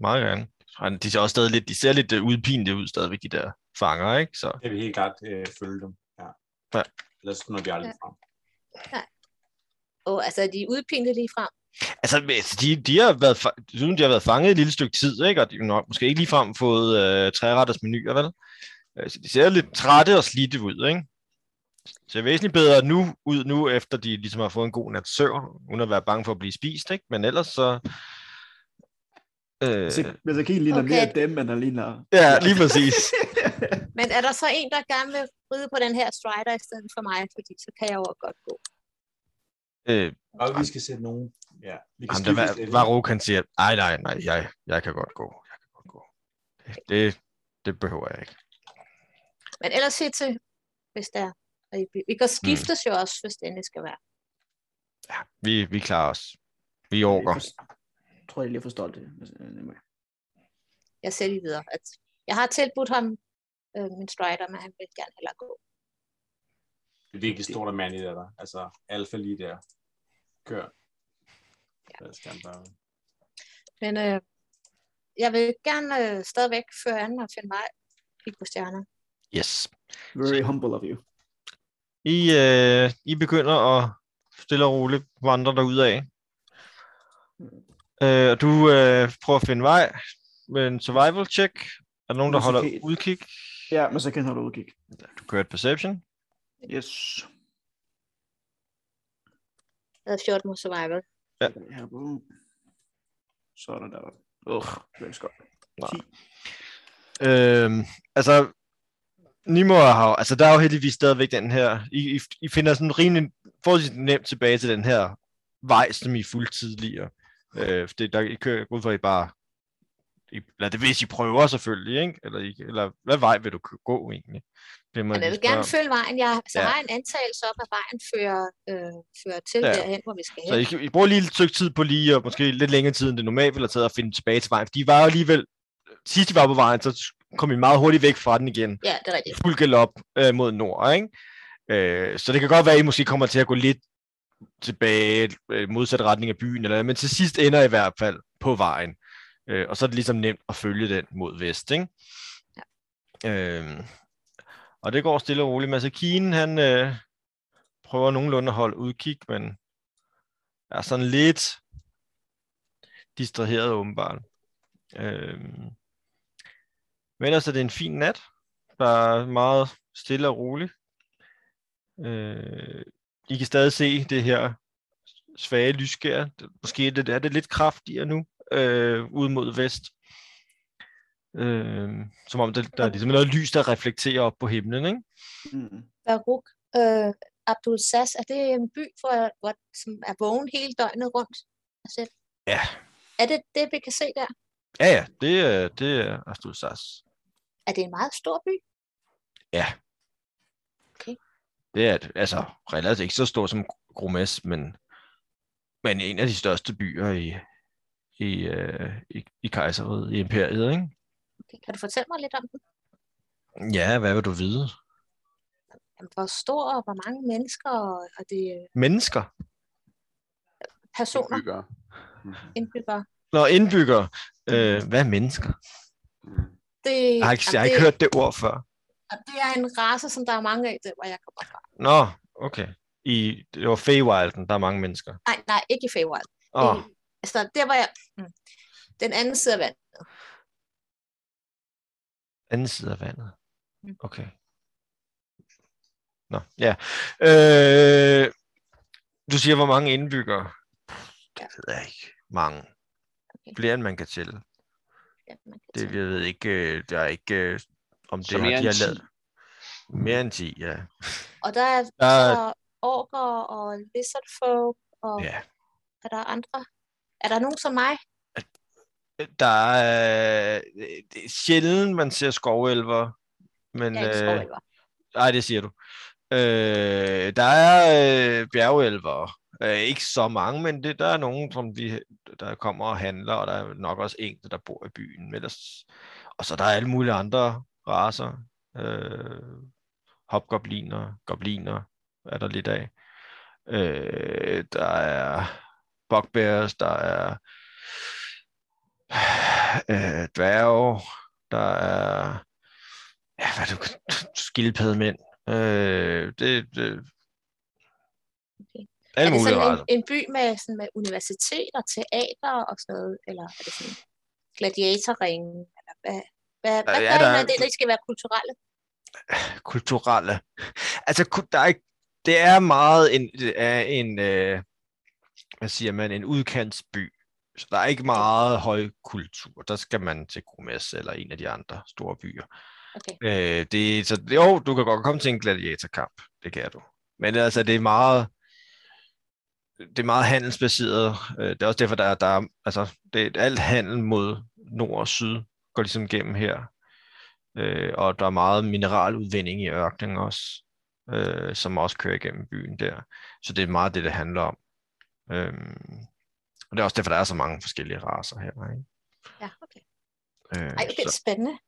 Speaker 2: meget gerne. Han, de ser også stadig lidt, de ser lidt øh, udpinte ud stadigvæk, de der fanger, ikke? Så
Speaker 5: Det vil helt klart øh, følge dem. Ja.
Speaker 2: Ja.
Speaker 5: Ellers når vi aldrig frem.
Speaker 3: Og altså, er de er udpinte lige frem.
Speaker 2: Altså, hvis de, de har været, fa- siden de har været fanget et lille stykke tid, ikke? og de har nok måske ikke ligefrem fået øh, træretters menuer, vel? Øh, Så de ser lidt trætte og slidte ud, ikke? Ser væsentligt bedre nu, ud nu, efter de ligesom har fået en god nat søvn, uden at være bange for at blive spist, ikke? Men ellers så... Øh,
Speaker 4: Øh, Masakin ligner
Speaker 3: Okay.
Speaker 4: okay. mere dem, end han ligner.
Speaker 2: ja, lige præcis.
Speaker 3: Men er der så en, der gerne vil ride på den her strider i stedet for mig, fordi så kan jeg jo godt gå.
Speaker 2: (laughs) Øh,
Speaker 5: Og vi skal sætte nogen. Ja, vi kan
Speaker 2: ham, der
Speaker 5: skiftes lidt.
Speaker 2: var, var Rokan siger, nej, nej, nej, jeg, jeg kan godt gå. Jeg kan godt gå. Det, det behøver jeg ikke.
Speaker 3: Men ellers se til, hvis der er. og I bliver- Vi kan skiftes jo også, hvis det endelig skal være.
Speaker 2: Ja, vi, vi klarer os. Vi orker.
Speaker 4: Jeg tror, jeg lige har forstået det. Øh,
Speaker 3: jeg selv lige videre. At jeg har tilbudt ham øh, min strider, men han vil gerne hellere gå.
Speaker 5: Det er virkelig stort og mandligt, der. Altså, alfa lige der. Kør. Ja.
Speaker 3: Men øh, jeg vil gerne øh, stadigvæk føre an og finde vej. Kigge på stjerner.
Speaker 2: Yes.
Speaker 4: Very humble of you.
Speaker 2: I, øh, I begynder at stille og roligt vandre derudad.
Speaker 5: Mm.
Speaker 2: Øh, og du øh, prøver at finde vej med en survival check. Er der nogen, der
Speaker 4: Nå, så
Speaker 2: holder
Speaker 4: kan I-
Speaker 2: udkig?
Speaker 4: Ja, Masakin har du udkig.
Speaker 2: Du kører et perception.
Speaker 4: Yes.
Speaker 3: Jeg havde 14 mod survival.
Speaker 2: Ja.
Speaker 4: Her på. Så er der der. Ugh, det er ikke så godt.
Speaker 2: Øhm, altså, Nimor har jo- altså der er jo heldigvis stadigvæk den her, I, I, I finder sådan rimelig forholdsvis nemt tilbage til den her vej, som I fulgte tidligere. Øh, det, der I kører, jeg går ud for, at I bare, I, eller det hvis I prøver selvfølgelig, ikke? Eller, I, eller hvad vej vil du k- gå egentlig? Det må
Speaker 3: Men jeg
Speaker 2: lige
Speaker 3: vil gerne
Speaker 2: spørge
Speaker 3: følge vejen. Jeg altså,
Speaker 2: Ja.
Speaker 3: ja. har en antagelse om, at vejen fører, øh, fører til
Speaker 2: Ja.
Speaker 3: ja. derhen, hvor vi skal
Speaker 2: om.
Speaker 3: hen.
Speaker 2: Så I, I bruger lige et stykke tid på lige, og måske lidt længere tid, end det normalt ville have taget at finde tilbage til vejen. For de var jo alligevel, sidst de var på vejen, så kom I meget hurtigt væk fra den igen.
Speaker 3: Ja, det er rigtigt.
Speaker 2: fuld galop øh, mod nord, ikke? Øh, så det kan godt være, at I måske kommer til at gå lidt tilbage, øh, modsat retning af byen, eller, men til sidst ender I, i hvert fald på vejen. Øh, og så er det ligesom nemt at følge den mod vest, ikke? Ja. Øh, og det går stille og roligt. Mads Kien, han øh, prøver nogenlunde at holde udkig, men er sådan lidt distraheret åbenbart. Øh, men ellers er det en fin nat der er meget stille og rolig. Øh, I kan stadig se det her svage lysskær. Det- Måske er det, er det lidt kraftigere nu, øh, ud mod vest. Øh, som om det, der er ligesom noget lys, der reflekterer op på himlen, ikke?
Speaker 4: Mm.
Speaker 3: Baruch øh, Abdul Sass, er det en by, for, hvor, som er vågen hele døgnet rundt? Altså,
Speaker 2: Ja.
Speaker 3: Er det det, vi kan se der?
Speaker 2: Ja, ja, det er, det er Astul Sars.
Speaker 3: Er det en meget stor by?
Speaker 2: Det er et- altså relativt ikke så stor som Gromes, men, men en af de største byer i, i, øh, i, i kejseriet, i imperiet, ikke?
Speaker 3: Okay, kan du fortælle mig lidt om den?
Speaker 2: Ja, hvad vil du vide?
Speaker 3: Jamen, hvor stor og hvor mange mennesker og, og det er
Speaker 2: Mennesker?
Speaker 3: personer,
Speaker 6: Indbyggere.
Speaker 2: Mhm.
Speaker 3: indbyggere?
Speaker 2: Nå, indbyggere. Øh, hvad er mennesker?
Speaker 6: Mm.
Speaker 3: Det,
Speaker 2: Jeg har ikke, jeg har
Speaker 3: jamen,
Speaker 2: ikke
Speaker 3: det,
Speaker 2: hørt det ord før.
Speaker 3: det er en race, som der er mange af, der, hvor jeg kommer fra.
Speaker 2: Nå, okay. I, det var Feywilden, der er mange mennesker.
Speaker 3: Nej, nej, ikke i Feywild.
Speaker 2: Åh, oh,
Speaker 3: Øh, Altså, der var jeg... Mm, den anden side af vandet.
Speaker 2: anden side af vandet.
Speaker 3: Mm.
Speaker 2: Okay. Nå, ja. Øh, du siger, hvor mange indbyggere?
Speaker 3: Ja.
Speaker 2: Det ved jeg ikke. Mange.
Speaker 3: Okay.
Speaker 2: Flere, end man kan tælle.
Speaker 3: Ja, man kan
Speaker 2: Det,
Speaker 3: sige.
Speaker 2: jeg ved ikke, øh, der er ikke, øh, om det
Speaker 6: Så
Speaker 2: har,
Speaker 6: mere
Speaker 2: de
Speaker 6: end
Speaker 2: har lavet. Mere end 10, ja.
Speaker 3: Og der er
Speaker 2: Der er,
Speaker 3: så orker og lizard folk, og
Speaker 2: ja.
Speaker 3: er der andre? Er der nogen som mig?
Speaker 2: Der er øh, det er sjældent, man ser skovelver. Men,
Speaker 3: Jeg er ikke
Speaker 2: øh,
Speaker 3: skovelver.
Speaker 2: Nej, det siger du. Øh, der er øh, bjergelver. Øh, ikke så mange, men det, der er nogen, som de, der kommer og handler, og der er nok også enkelte, der bor i byen. Men ellers... Og så der er alle mulige andre raser. Øh, hopgobliner, gobliner er der lidt af. Øh, der er bugbears, der er øh, dværge, der er ja, hvad er det, skildpaddemænd. Øh, det, det,
Speaker 3: Okay.
Speaker 2: Alle
Speaker 3: er det
Speaker 2: mulige
Speaker 3: sådan
Speaker 2: raser.
Speaker 3: en, en by med, sådan med universiteter, teater og sådan noget? Eller er det sådan gladiatorringen? Eller hvad, hvad, hvad
Speaker 2: er
Speaker 3: gør I,
Speaker 2: der-
Speaker 3: når det, der skal være kulturelle?
Speaker 2: kulturelle. Altså, ku- der er, ikke- det er meget en, det er en øh, hvad siger man, en udkantsby. Så der er ikke meget højkultur. Der skal man til Grumes eller en af de andre store byer.
Speaker 3: Okay.
Speaker 2: Øh, det, så jo, du kan godt komme til en gladiatorkamp. Det kan du. Men altså, det er meget det er meget handelsbaseret. Øh, Det er også derfor, der er, der er altså, det er alt handel mod nord og syd går ligesom gennem her. Øh, og der er meget mineraludvinding i ørkenen også, øh, som også kører igennem byen der. Så det er meget det, det handler om. Øhm, og det er også derfor, der er så mange forskellige raser her. Ikke?
Speaker 3: Ja, okay.
Speaker 2: Øh,
Speaker 3: Ej, okay,
Speaker 2: så,
Speaker 3: spændende.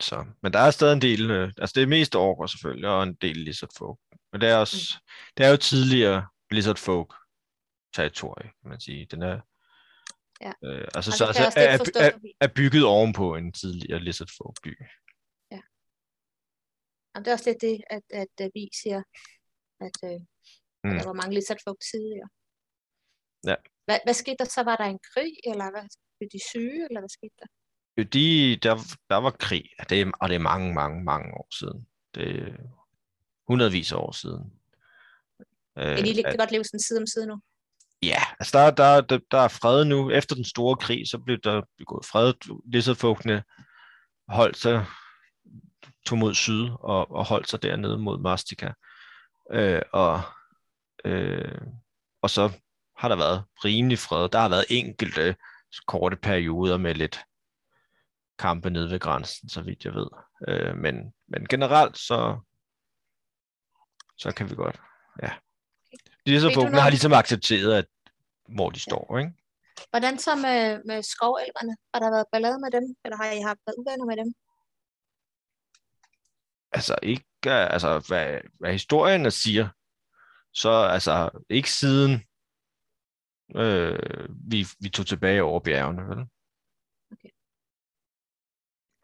Speaker 2: så. Men der er stadig en del, øh, altså det er mest orker selvfølgelig, og en del lizard folk. Men det er, også,
Speaker 3: Mm.
Speaker 2: det er jo tidligere lizard folk territorie, kan man sige. Den er,
Speaker 3: Ja.
Speaker 2: øh, altså,
Speaker 3: Og
Speaker 2: så,
Speaker 3: det kan
Speaker 2: altså,
Speaker 3: jeg også
Speaker 2: er,
Speaker 3: lidt forstå.
Speaker 2: er,
Speaker 3: fordi-
Speaker 2: er, bygget ovenpå en tidligere lizard folk by.
Speaker 3: Jamen, det er også lidt det, at, at, at vi siger, at, øh, mm.
Speaker 2: Mm.
Speaker 3: der var mange lidt sat folk tidligere.
Speaker 2: Ja.
Speaker 3: Hvad, hvad skete der så? Var der en krig, eller hvad? Blev de syge, eller hvad skete der?
Speaker 2: Jo, Øh, de, der, der var krig, og det, er- og det er mange, mange, mange år siden. Det er hundredvis af år siden. Øh,
Speaker 3: Kan de
Speaker 2: at-
Speaker 3: ikke godt leve sådan side om side nu?
Speaker 2: ja, altså der, der, der, der er fred nu. Efter den store krig, så blev der begået fred. Lizardfugtene holdt sig, tog mod syd og, og holdt sig dernede mod Mastika. Øh, og, øh, og så har der været rimelig fred. Der har været enkelte korte perioder med lidt kampe nede ved grænsen, så vidt jeg ved. Øh, men, men generelt, så, så kan vi godt. Ja. De så
Speaker 3: Ved du
Speaker 2: folkene
Speaker 3: noget-
Speaker 2: har ligesom accepteret, at, hvor de står, ikke?
Speaker 3: Hvordan så med, med skovelverne? Har der været ballade med dem, eller har I haft været uvenner med dem?
Speaker 2: altså ikke, øh, altså hvad, hvad historien siger, så altså ikke siden øh, vi, vi tog tilbage over bjergene, vel?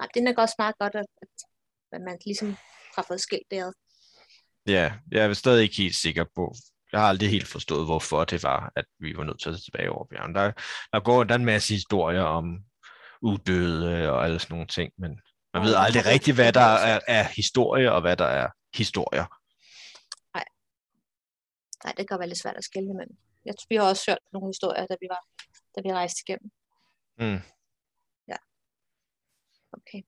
Speaker 3: Nej, det er nok også meget godt, at, at, at man ligesom har fået skilt det ad.
Speaker 2: Ja, jeg er stadig ikke helt sikker på, jeg har aldrig helt forstået, hvorfor det var, at vi var nødt til at tage tilbage over bjergene. Der, der går der er en masse historier om uddøde og alle sådan nogle ting, men man ved aldrig rigtigt, hvad der er, er historie, og hvad der er historier.
Speaker 3: Nej, det kan være lidt svært at skille men jeg tror, vi har også hørt nogle historier, da vi var da vi rejste igennem.
Speaker 2: Mm.
Speaker 3: Okay.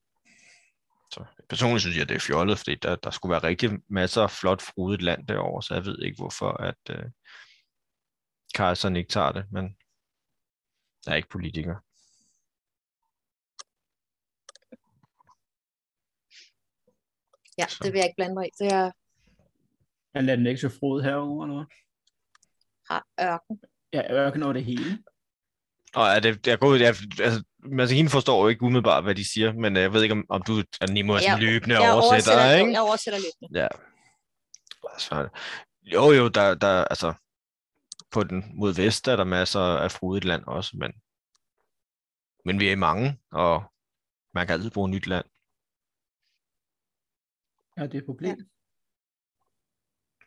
Speaker 2: Så personligt synes jeg, det er fjollet, fordi der, der skulle være rigtig masser af flot frodigt land derovre, så jeg ved ikke, hvorfor at øh, kejseren ikke tager det, men der er ikke politikere.
Speaker 3: Ja,
Speaker 2: Så.
Speaker 3: det vil jeg ikke blande mig i. Det er,
Speaker 4: Han lader den ikke så frod herover eller hvad?
Speaker 3: har ørken.
Speaker 4: Ja, ørken over det hele.
Speaker 2: Og er det, jeg går ud, jeg, altså, Masakine forstår jo ikke umiddelbart, hvad de siger, men øh, jeg ved ikke, om, om du er Nemo er sådan
Speaker 3: Jeg-
Speaker 2: løbende oversætter, ikke?
Speaker 3: jeg oversætter lidt.
Speaker 2: Ja. Altså, jo, jo, der, der, altså, på den mod vest er der masser af frodigt land også, men, men vi er i mange, og man kan altid bruge nyt land.
Speaker 4: Ja, det er et problem.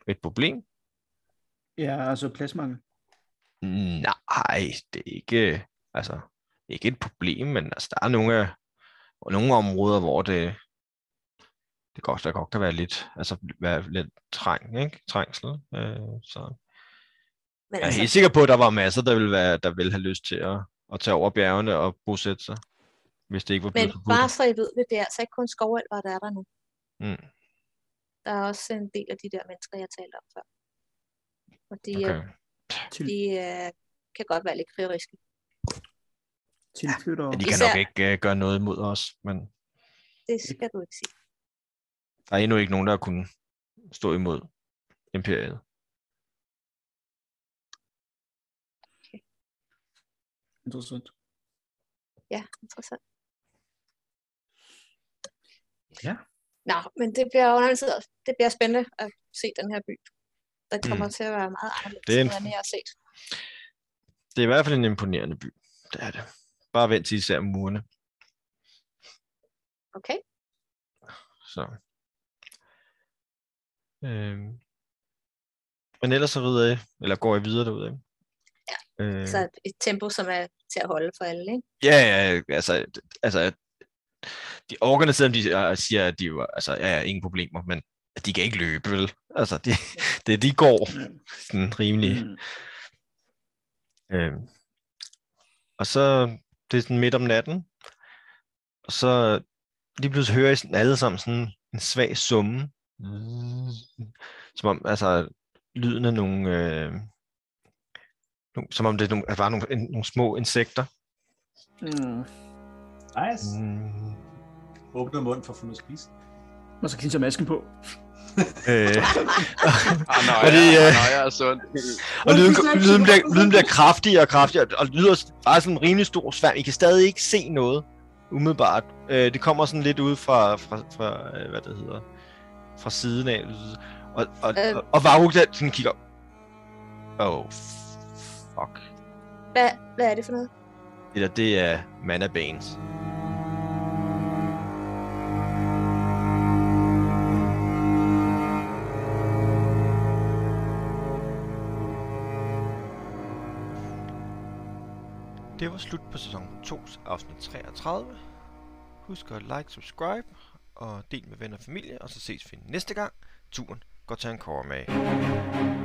Speaker 2: Et problem?
Speaker 4: Ja, altså pladsmangel.
Speaker 2: Nej, det er ikke, altså, ikke et problem, men altså, der er nogle, af- nogle områder, hvor det, det godt, der godt kan være lidt, altså, være lidt træng, ikke? Trængsel. Øh, så.
Speaker 3: Men
Speaker 2: Jeg er helt
Speaker 3: altså,
Speaker 2: sikker på, at der var masser, der ville, være, der ville have lyst til at, at tage over bjergene og bosætte sig, hvis det ikke var
Speaker 3: men
Speaker 2: blevet forbudt.
Speaker 3: bare så I ved det, det er altså ikke kun skovalver, der er der nu.
Speaker 2: Mm.
Speaker 3: Der er også en del af de der mennesker, jeg talte om før. Og de, okay.
Speaker 2: Okay.
Speaker 4: Til,
Speaker 3: de øh, kan godt være lidt krigeriske.
Speaker 4: tilflytter.
Speaker 2: Men de kan
Speaker 3: Især-
Speaker 2: nok ikke uh, gøre noget imod os, men
Speaker 3: Det skal du ikke sige.
Speaker 2: der er endnu ikke nogen, der har kunnet stå imod imperiet.
Speaker 4: Interessant.
Speaker 3: Ja, interessant.
Speaker 4: Ja.
Speaker 3: Nå, men det bliver undervistet. Det bliver spændende at se den her by. Den kommer mm. til at være meget anderledes,
Speaker 2: Det er en-
Speaker 3: end jeg har set.
Speaker 2: Det er i hvert fald en imponerende by. Det er det. Bare vent til især murene.
Speaker 3: Okay?
Speaker 2: Så. Øhm. Men ellers så ved jeg, eller går jeg videre derude. Ja.
Speaker 3: Mm.
Speaker 2: Øh.
Speaker 3: Så et tempo, som er til at holde for alle, ikke?
Speaker 2: Ja, ja, ja, altså, d- altså de orkerne, selvom de øh, siger, at de jo, altså, ja, ja, ingen problemer, men de kan ikke løbe, vel? Altså, det, det de går
Speaker 4: Ja.
Speaker 2: sådan rimelig.
Speaker 4: Mm.
Speaker 2: Øh. Og så, det er sådan midt om natten, og så lige pludselig hører I sådan alle sammen sådan en svag summe, som om, altså, lyden af nogle, øh, nogle- som om det er nogle, var nogle, en- nogle små insekter.
Speaker 4: Mm.
Speaker 5: Nice.
Speaker 2: Mm.
Speaker 5: Åbner mund for at få noget at spise.
Speaker 4: Og så kan de tage masken på.
Speaker 2: Øh.
Speaker 6: Ah, nej,
Speaker 2: Fordi,
Speaker 6: Fordi,
Speaker 2: øh,
Speaker 6: øh... nej, jeg er sund. (laughs)
Speaker 2: Og lyden, lyden, bliver, lyden bliver kraftigere og kraftigere, og lyder s- bare sådan en rimelig stor sværm. I kan stadig ikke se noget, umiddelbart. Øh, det kommer sådan lidt ud fra, fra, fra øh, hvad det hedder, fra siden af. Og, og,
Speaker 3: Øh.
Speaker 2: øh. og, og Varuk der sådan kigger op. Oh, fuck.
Speaker 3: Hvad, hvad er det for noget?
Speaker 2: Det der, det er Mana Banes. Det var slut på sæson 2, afsnit 33. Husk at like, subscribe og del med venner og familie, og så ses vi næste gang. Turen går til en med.